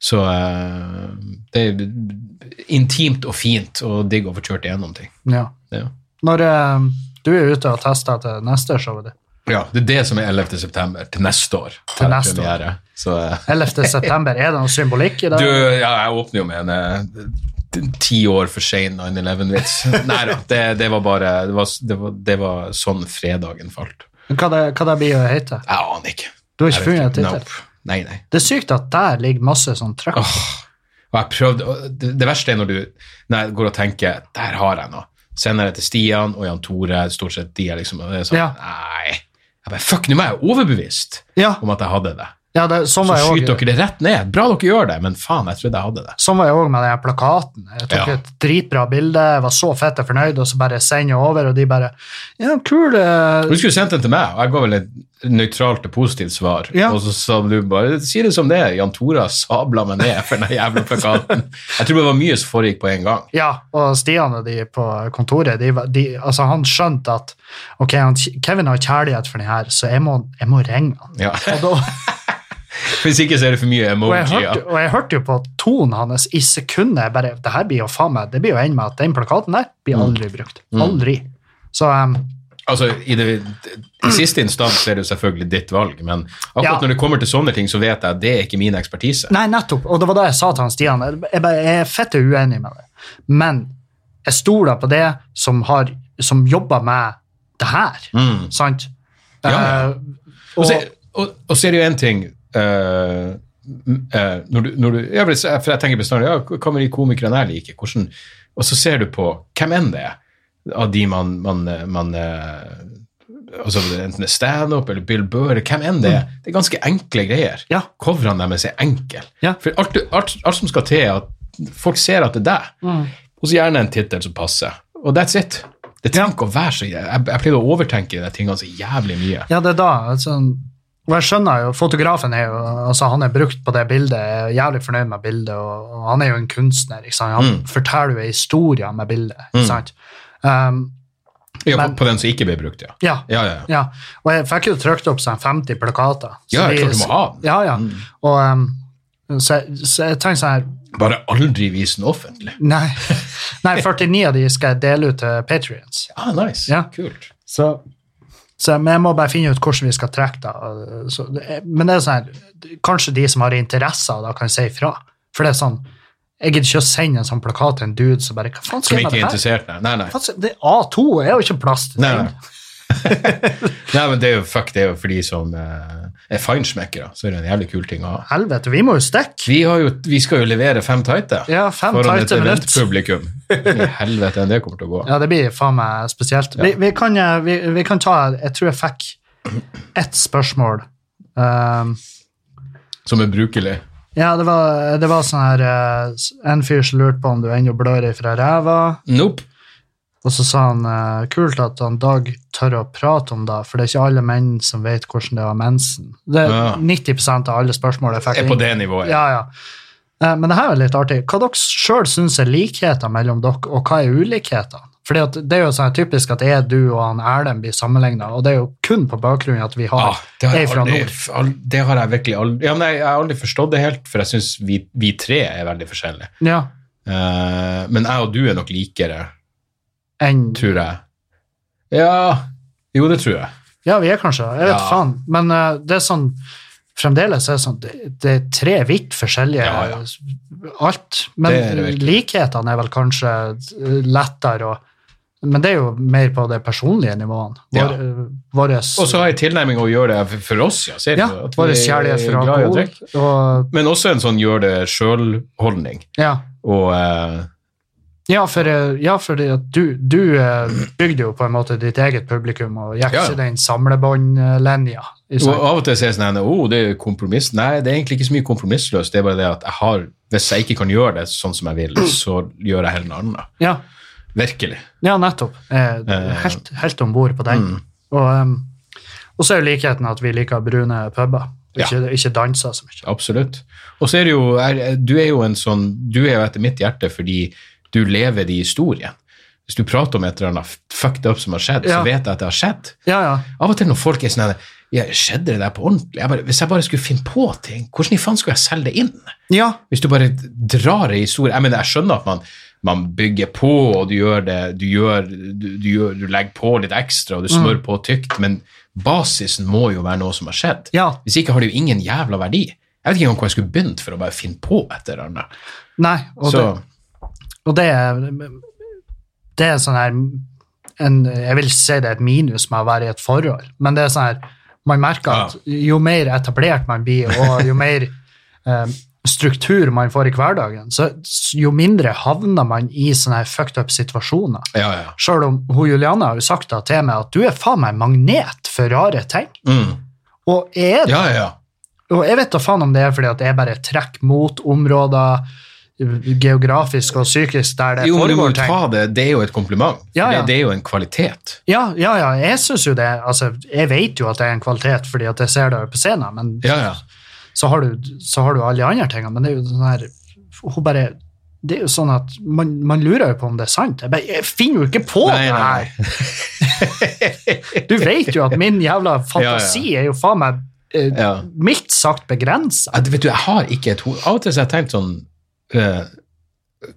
Speaker 2: Så eh, det er intimt og fint og digg å få kjørt igjennom ting.
Speaker 1: Ja.
Speaker 2: Ja.
Speaker 1: Når eh, du er ute og tester til neste showet ditt
Speaker 2: ja, det er det som er 11. september til neste år.
Speaker 1: Til
Speaker 2: Er det
Speaker 1: neste år.
Speaker 2: premiere. Så eh,
Speaker 1: 11. september, er det noe symbolikk i det?
Speaker 2: du, ja, jeg åpner jo med en eh, ti år for sein 9-11-vits. Nei da, det, det var bare det var, det, var, det var sånn fredagen falt.
Speaker 1: Hva det, hva det blir å hete?
Speaker 2: Jeg aner ikke.
Speaker 1: Du har
Speaker 2: Jeg
Speaker 1: ikke
Speaker 2: vet
Speaker 1: funnet en tittel?
Speaker 2: Nope. Nei, nei.
Speaker 1: Det er sykt at der ligger masse sånn trøkk.
Speaker 2: Åh, og jeg prøvde, og det, det verste er når du når jeg går og tenker der har jeg noe. Sender det til Stian og Jan Tore. stort sett de er liksom, og det er sånn,
Speaker 1: Ja.
Speaker 2: nei. Jeg bare, fuck, Nå var jeg overbevist
Speaker 1: Ja,
Speaker 2: om at jeg hadde det.
Speaker 1: ja det, sånn
Speaker 2: Så
Speaker 1: var jeg
Speaker 2: skyter
Speaker 1: også-
Speaker 2: dere det rett ned. Bra dere gjør det, men faen, jeg trodde jeg hadde det.
Speaker 1: Sånn var jeg òg med den her plakaten. Jeg tok
Speaker 2: Ja.
Speaker 1: et dritbra bilde, jeg var så fette fornøyd, og så bare sender jeg over, og de bare Ja, kul
Speaker 2: Du
Speaker 1: eh,
Speaker 2: skulle sendt den til meg, og jeg ga vel et nøytralt og positivt svar.
Speaker 1: Ja.
Speaker 2: Og så sa du bare si det som det er. Jan Tore sabla meg ned for den jævla plakaten. Jeg tror det var mye som foregikk på en gang.
Speaker 1: Ja, og Stian og de på kontoret, de, var- de, altså han skjønte at ok, han, Kevin har kjærlighet for den her, så jeg må, jeg må ringe han.
Speaker 2: Ja.
Speaker 1: Og, da,
Speaker 2: Hvis ikke så er det for mye
Speaker 1: og, jeg
Speaker 2: emojier.
Speaker 1: hørte, og jeg hørte jo på tonen hans i sekundet jeg bare, Det her blir jo faen meg, det blir jo en med at den plakaten der
Speaker 2: Mm.
Speaker 1: blir aldri brukt. Aldri. Så em,
Speaker 2: Altså, i, det, I siste instans er det jo selvfølgelig ditt valg, men akkurat
Speaker 1: Ja.
Speaker 2: når det kommer til sånne ting, så vet jeg at det er ikke min ekspertise.
Speaker 1: Nei, nettopp. Og det var det jeg sa til han Stian. Jeg, bare, jeg er fette uenig med det. Men jeg stoler på det som, har, som jobber med det her.
Speaker 2: Mm.
Speaker 1: Sant?
Speaker 2: Ja, ja.
Speaker 1: Eh,
Speaker 2: Og,
Speaker 1: og,
Speaker 2: så, og, og så er det jo én ting eh, m- eh, når du, når du, ja, for jeg- for jeg tenker bestandig ja, hva med de komikerne jeg liker? Hvordan, og så ser du på hvem enn det er av de man, man, eh, man eh, altså Enten det er standup eller Bill Burr, hvem enn det er. Det er ganske enkle greier.
Speaker 1: Mm. Ja.
Speaker 2: Coverene deres er enkle.
Speaker 1: Ja.
Speaker 2: For alt, du- alt, alt som skal til, er at folk ser at det er deg. Og så gjerne en tittel som passer. Og that's it. Det trenger ikke å være så jæ- Jeg, jeg pleide å overtenke de tingene så jævlig mye.
Speaker 1: ja, det er da. Altså, og jeg skjønner jo, fotografen er jo altså han er brukt på det bildet, jeg er jævlig fornøyd med bildet, og, og han er jo en kunstner. Ikke sant? Han
Speaker 2: Mm.
Speaker 1: forteller jo en historie med bildet. Ikke
Speaker 2: Mm.
Speaker 1: sant? Um,
Speaker 2: Ja,
Speaker 1: Men-
Speaker 2: på, på den som ikke ble brukt, ja.
Speaker 1: ja,
Speaker 2: Ja, ja, ja.
Speaker 1: Ja, og jeg fikk jo trykt opp sånn 50 plakater. Så
Speaker 2: Ja,
Speaker 1: de-
Speaker 2: klart du må ha Mm. den.
Speaker 1: Ja, ja. Og, um, så, så jeg tenkte sånn her
Speaker 2: Bare aldri vise den offentlig.
Speaker 1: Nei, nei 49 av de skal jeg dele ut til patrients.
Speaker 2: Ah, nice.
Speaker 1: Ja.
Speaker 2: Kult.
Speaker 1: Så, så, men jeg må bare finne ut hvordan vi skal trekke det. og Så, det- men det er sånn her, kanskje de som har interesse av det, kan si ifra. For det er sånn Jeg gidder ikke å sende en sånn plakat til en dude som bare Hva faen
Speaker 2: Som
Speaker 1: skal jeg med
Speaker 2: ikke
Speaker 1: det
Speaker 2: er
Speaker 1: her?
Speaker 2: interessert Nei, nei. nei.
Speaker 1: Hva skal- Det er A2 er jo ikke plass til
Speaker 2: nei,
Speaker 1: ting.
Speaker 2: nei. nei men det er jo fuck, det er jo for de som eh, er feinschmeckere, så er det en jævlig kul ting å ha.
Speaker 1: Helvete, vi må jo stikke.
Speaker 2: Vi, har jo, vi skal jo levere fem tighte
Speaker 1: Ja, fem
Speaker 2: foran et
Speaker 1: tighte minutt.
Speaker 2: eventpublikum. I helvete enn det kommer til å gå.
Speaker 1: Ja, det blir faen meg spesielt. Vi, vi, kan, eh, vi, vi kan ta Jeg tror jeg fikk ett spørsmål. Um,
Speaker 2: Som er brukelig.
Speaker 1: ja, det var, det var sånn her eh, En fyr som lurte på om du ennå blør ifra ræva.
Speaker 2: Nope.
Speaker 1: Og så sa han eh, kult at han Dag tør å prate om det, for det er ikke alle menn som vet hvordan det var mensen. Det er
Speaker 2: Ja.
Speaker 1: 90 av alle spørsmål jeg fikk
Speaker 2: Er på det nivået.
Speaker 1: Ja, ja. Eh, Men det her er litt artig. Hva dere sjøl syns er likheter mellom dere, og hva er ulikheter? Fordi at Det er jo sånn typisk at jeg, du og han Erlend blir sammenligna, og det er jo kun på bakgrunn av at vi har
Speaker 2: Ah, det, har
Speaker 1: er
Speaker 2: jeg
Speaker 1: fra
Speaker 2: aldri,
Speaker 1: nord.
Speaker 2: al- det har jeg virkelig aldri ja, men jeg, jeg har aldri forstått det helt, for jeg syns vi, vi tre er veldig forskjellige.
Speaker 1: Ja,
Speaker 2: Eh, men jeg og du er nok likere,
Speaker 1: enn
Speaker 2: tror jeg. Ja Jo, det tror jeg.
Speaker 1: Ja, vi er kanskje Jeg vet
Speaker 2: Ja.
Speaker 1: faen. Men eh, det er sånn Fremdeles er det sånn Det, det er tre vidt forskjellige
Speaker 2: Ja, ja.
Speaker 1: alt. Men
Speaker 2: Det er det virkelig.
Speaker 1: likhetene er vel kanskje eh, lettere å Men det er jo mer på det personlige nivået.
Speaker 2: Ja.
Speaker 1: Vår, eh, våres-
Speaker 2: Og så har jeg tilnærming å gjøre det for- for oss, ja. Ser
Speaker 1: Ja,
Speaker 2: du? at vi
Speaker 1: vår
Speaker 2: er
Speaker 1: kjærlighet for
Speaker 2: glad i å
Speaker 1: alkohol.
Speaker 2: drikke.
Speaker 1: Og,
Speaker 2: Men også en sånn gjør det sjøl-holdning.
Speaker 1: ja.
Speaker 2: Og eh,
Speaker 1: Ja, for, eh, ja, for det at du, du eh, bygde jo på en måte ditt eget publikum og gikk
Speaker 2: Ja, ja.
Speaker 1: ikke den samlebåndlinja. i
Speaker 2: Og
Speaker 1: seg.
Speaker 2: av og til sier jeg sånn her, oh, det er kompromiss. Nei, det er egentlig ikke så mye kompromissløst. Det er bare det at jeg har, hvis jeg ikke kan gjøre det sånn som jeg vil, så gjør jeg heller noe annet.
Speaker 1: Ja,
Speaker 2: Virkelig.
Speaker 1: ja, nettopp. Eh, Mm. Helt, helt om bord på den. Og, em, og så er jo likheten at vi liker brune puber.
Speaker 2: Ja.
Speaker 1: Ikke, ikke danser så mye.
Speaker 2: Absolutt. Og så er det jo er, Du er jo en sånn Du er jo etter mitt hjerte fordi du lever i historien. Hvis du prater om et eller annet fucked up som har skjedd,
Speaker 1: Ja.
Speaker 2: så vet jeg at det har skjedd.
Speaker 1: Ja, ja.
Speaker 2: Av og til når folk er sånn her, ja, Skjedde det der på ordentlig? Jeg bare, hvis jeg bare skulle finne på ting, hvordan i faen skulle jeg selge det inn?
Speaker 1: Ja,
Speaker 2: Hvis du bare drar i historien Jeg mener, jeg skjønner at man, man bygger på, og du gjør det du, gjør, du, du, gjør, du legger på litt ekstra, og du smører på tykt, men basisen må jo være noe som har skjedd.
Speaker 1: ja.
Speaker 2: Hvis ikke har det jo ingen jævla verdi. Jeg vet ikke engang hvor jeg skulle begynt for å bare finne på et eller annet.
Speaker 1: Nei. Og
Speaker 2: Så,
Speaker 1: det, Og det er, det er sånn her en, Jeg vil si det er et minus med å være i et forhold, men det er sånn her Man merker at jo mer etablert man blir, og jo mer eh, struktur man får i hverdagen, så s- jo mindre havner man i sånne her fucked up situasjoner.
Speaker 2: Ja, ja.
Speaker 1: Sjøl om hun Juliana har jo sagt da til meg at du er faen meg magnet for rare ting.
Speaker 2: Mm.
Speaker 1: Og jeg er det.
Speaker 2: Ja, ja, ja.
Speaker 1: Og jeg vet da faen om det er fordi at jeg bare trekker mot områder geografisk og psykisk der det
Speaker 2: Jo, men du må
Speaker 1: foregår
Speaker 2: jo
Speaker 1: ting.
Speaker 2: ta det. Det er jo et kompliment.
Speaker 1: Ja, ja.
Speaker 2: Det, det er jo en kvalitet.
Speaker 1: Ja, ja, ja, jeg synes jo det. Altså, jeg vet jo at det er en kvalitet fordi at jeg ser det på scenen, men
Speaker 2: Ja, ja.
Speaker 1: så, har du, så har du alle de andre tingene. Men det er jo sånn her Hun bare Det er jo sånn at man, man lurer jo på om det er sant. Jeg, bare, jeg finner jo ikke på
Speaker 2: Nei,
Speaker 1: det
Speaker 2: nei,
Speaker 1: her! Du vet jo at min jævla fantasi er jo faen meg eh,
Speaker 2: Ja.
Speaker 1: mildt sagt begrensa.
Speaker 2: Ja, det- vet du, jeg har ikke et hode Av og til så har jeg tenkt sånn eh,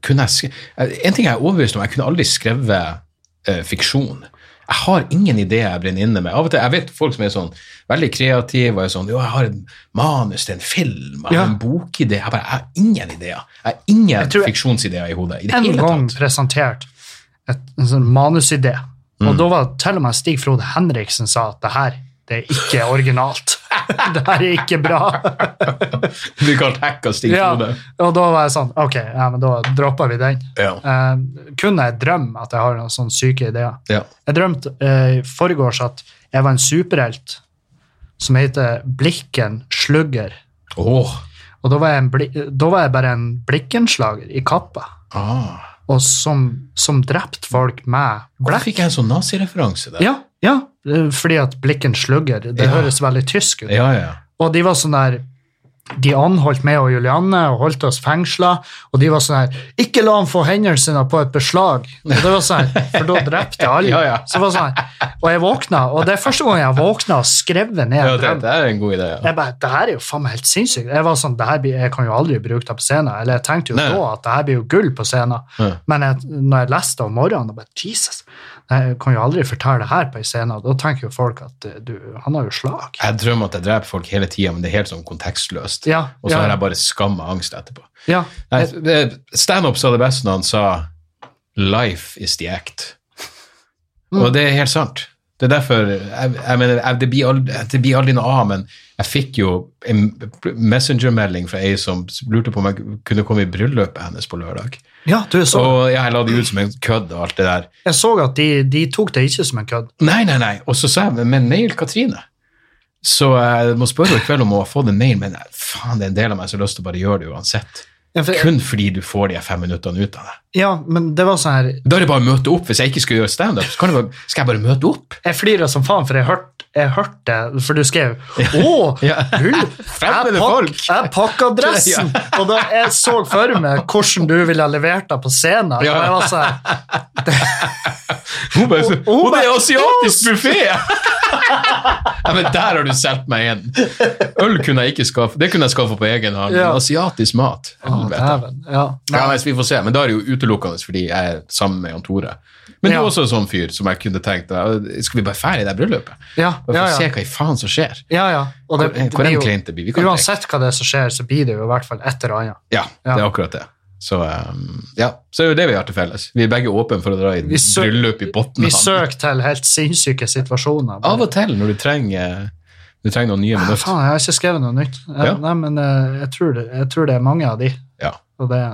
Speaker 2: kunne jeg skri eh, En ting jeg er overbevist om, jeg kunne aldri skrevet eh, fiksjon. Jeg har ingen ideer jeg brenner inne med. Av og til, Jeg vet folk som er sånn veldig kreative og er sånn Jo, jeg har et manus til en film, jeg har
Speaker 1: Ja.
Speaker 2: en bokidé Jeg bare, jeg har ingen ideer. Jeg har ingen
Speaker 1: Jeg tror-
Speaker 2: fiksjonsideer i hodet. i det
Speaker 1: en
Speaker 2: hele
Speaker 1: gang
Speaker 2: tatt.
Speaker 1: presentert et, en sånn manusidé, og da var til og med Stig Frode Henriksen sa at det her, det er ikke originalt. det her er ikke bra.
Speaker 2: Du kan hacka Stig
Speaker 1: ja.
Speaker 2: Frode.
Speaker 1: Og da var jeg sånn, ok, ja, men da dropper vi den.
Speaker 2: Ja.
Speaker 1: Eh, kun jeg drømmer at jeg har noen sånne syke ideer.
Speaker 2: Ja.
Speaker 1: Jeg drømte eh, i forgårs at jeg var en superhelt som heter Blikken Slugger.
Speaker 2: Åh.
Speaker 1: Og da var jeg, en bli, da var jeg bare en blikkenslager i kappa,
Speaker 2: Ah.
Speaker 1: og som, som drept folk med
Speaker 2: Hvorfor fikk jeg en sånn nazireferanse der?
Speaker 1: Ja, ja. eh, Fordi at blikken slugger. Det
Speaker 2: Ja.
Speaker 1: høres veldig tysk ut.
Speaker 2: ja. ja.
Speaker 1: Og de var sånn der De anholdt meg og Julianne og holdt oss fengsla, og de var sånn her Ikke la han få hendene sine på et beslag! Og det var sånn her, For da drepte jeg alle.
Speaker 2: Ja, ja.
Speaker 1: Så det var sånn her. Og jeg våkna, og det er første gang jeg våkna og skrev ned
Speaker 2: ja det,
Speaker 1: drømmen.
Speaker 2: det er en god idé. Ja.
Speaker 1: Jeg bare, det her er jo faen meg helt sinnssykt. Jeg var sånn, det her blir, jeg kan jo aldri bruke det på scenen. Eller jeg tenkte jo
Speaker 2: Nei.
Speaker 1: da at det her blir jo gull på scenen.
Speaker 2: Ja.
Speaker 1: Men jeg, når jeg leste det om morgenen, da bare, Jesus, jeg kan jo aldri fortelle det her på en scene. Og da tenker jo folk at eh, du, han har jo slag.
Speaker 2: Jeg drømmer at jeg dreper folk hele tida, men det er helt sånn kontekstløst.
Speaker 1: Ja,
Speaker 2: og så
Speaker 1: ja.
Speaker 2: har jeg bare skam og angst etterpå.
Speaker 1: Ja,
Speaker 2: Nei, det- Standup sa det best når han sa 'life is the act'.
Speaker 1: Mm.
Speaker 2: Og det er helt sant. Det er derfor jeg, jeg mener, jeg, det, blir aldri, det blir aldri noe av, men jeg fikk jo en messengermelding fra ei som lurte på om jeg kunne komme i bryllupet hennes på lørdag.
Speaker 1: ja du så,
Speaker 2: Og jeg la det ut som en kødd og alt det der.
Speaker 1: jeg så at de, de tok det ikke som en kødd.
Speaker 2: Nei, nei, nei. Og så sa jeg, men- men mail Katrine. Så jeg må spørre henne i kveld om hun har fått en mail, men faen, det er en del av meg som har lyst til å bare gjøre det uansett.
Speaker 1: Ja, for-
Speaker 2: Kun fordi du får de her fem minuttene ut av det.
Speaker 1: Ja, men det var sånn her,
Speaker 2: Da er det bare å møte opp. Hvis jeg ikke skal gjøre standup, så kan jeg bare, skal jeg bare møte opp.
Speaker 1: jeg flirer som faen, for jeg hørte jeg hørte det, for du skrev Å,
Speaker 2: Ja.
Speaker 1: hull! Jeg,
Speaker 2: Fremmede
Speaker 1: pakk,
Speaker 2: folk.
Speaker 1: jeg pakka dressen! Og da jeg så for meg hvordan du ville ha levert deg på scenen. Og
Speaker 2: Ja.
Speaker 1: jeg var sånn, her,
Speaker 2: Hun bare så,
Speaker 1: Og- og hun
Speaker 2: «Å, det er
Speaker 1: bare,
Speaker 2: asiatisk buffé! ja, men der har du solgt meg inn. Øl kunne jeg ikke skaffe. Det kunne jeg skaffe på egen hånd.
Speaker 1: Ja.
Speaker 2: men Asiatisk mat.
Speaker 1: Å,
Speaker 2: Helvete.
Speaker 1: dæven. Ja. Nei.
Speaker 2: Ja, nei, så vi får se, men da er det jo utelukkende fordi jeg er sammen med Jan Tore. Men du
Speaker 1: Ja.
Speaker 2: er også en sånn fyr som jeg kunne tenkt eh, Skal vi bare fære i det bryllupet?
Speaker 1: Ja,
Speaker 2: Bare
Speaker 1: ja,
Speaker 2: for å se
Speaker 1: ja.
Speaker 2: hva i faen som skjer.
Speaker 1: ja, ja. Og det,
Speaker 2: Hvor-
Speaker 1: det
Speaker 2: hvor
Speaker 1: blir
Speaker 2: enn
Speaker 1: jo-
Speaker 2: kleint det blir, vi kan
Speaker 1: Uansett hva det er som skjer, så blir det jo i hvert fall et eller annet.
Speaker 2: Ja,
Speaker 1: Ja.
Speaker 2: det er akkurat det. Så, eh, ja. så er det jo det vi har til felles. Vi er begge åpne for å dra i
Speaker 1: Vi sø-
Speaker 2: bryllup i
Speaker 1: Vi
Speaker 2: Botnhamn.
Speaker 1: søker til helt sinnssyke situasjoner.
Speaker 2: Av og til når du trenger, du trenger noen nye
Speaker 1: Ah,
Speaker 2: minutter.
Speaker 1: faen, jeg har ikke skrevet noe nytt. Jeg,
Speaker 2: Ja.
Speaker 1: Nei, men eh, jeg tror, det, jeg tror det er mange av de.
Speaker 2: Ja.
Speaker 1: Og det,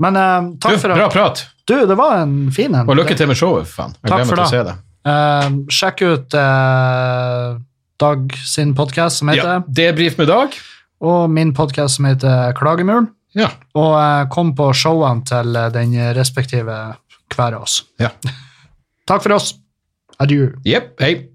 Speaker 1: men eh,
Speaker 2: Du,
Speaker 1: takk for
Speaker 2: bra
Speaker 1: at
Speaker 2: prat,
Speaker 1: Du, det var en fin en.
Speaker 2: og lykke til med showet, for faen. Jeg
Speaker 1: Takk
Speaker 2: gleder
Speaker 1: for
Speaker 2: meg til å
Speaker 1: det.
Speaker 2: se det.
Speaker 1: Eh, sjekk ut eh, Dag sin podkast som
Speaker 2: Ja,
Speaker 1: heter
Speaker 2: Debrif med Dag.
Speaker 1: Og min podkast som heter Klagemuren.
Speaker 2: Ja.
Speaker 1: Og eh, kom på showene til eh, den respektive hver av oss.
Speaker 2: ja.
Speaker 1: Takk for oss. Adjø.
Speaker 2: Jepp. Hei.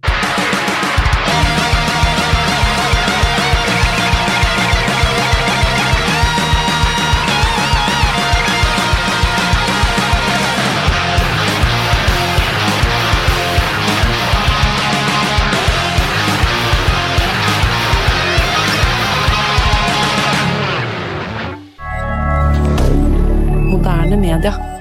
Speaker 3: Moderne media.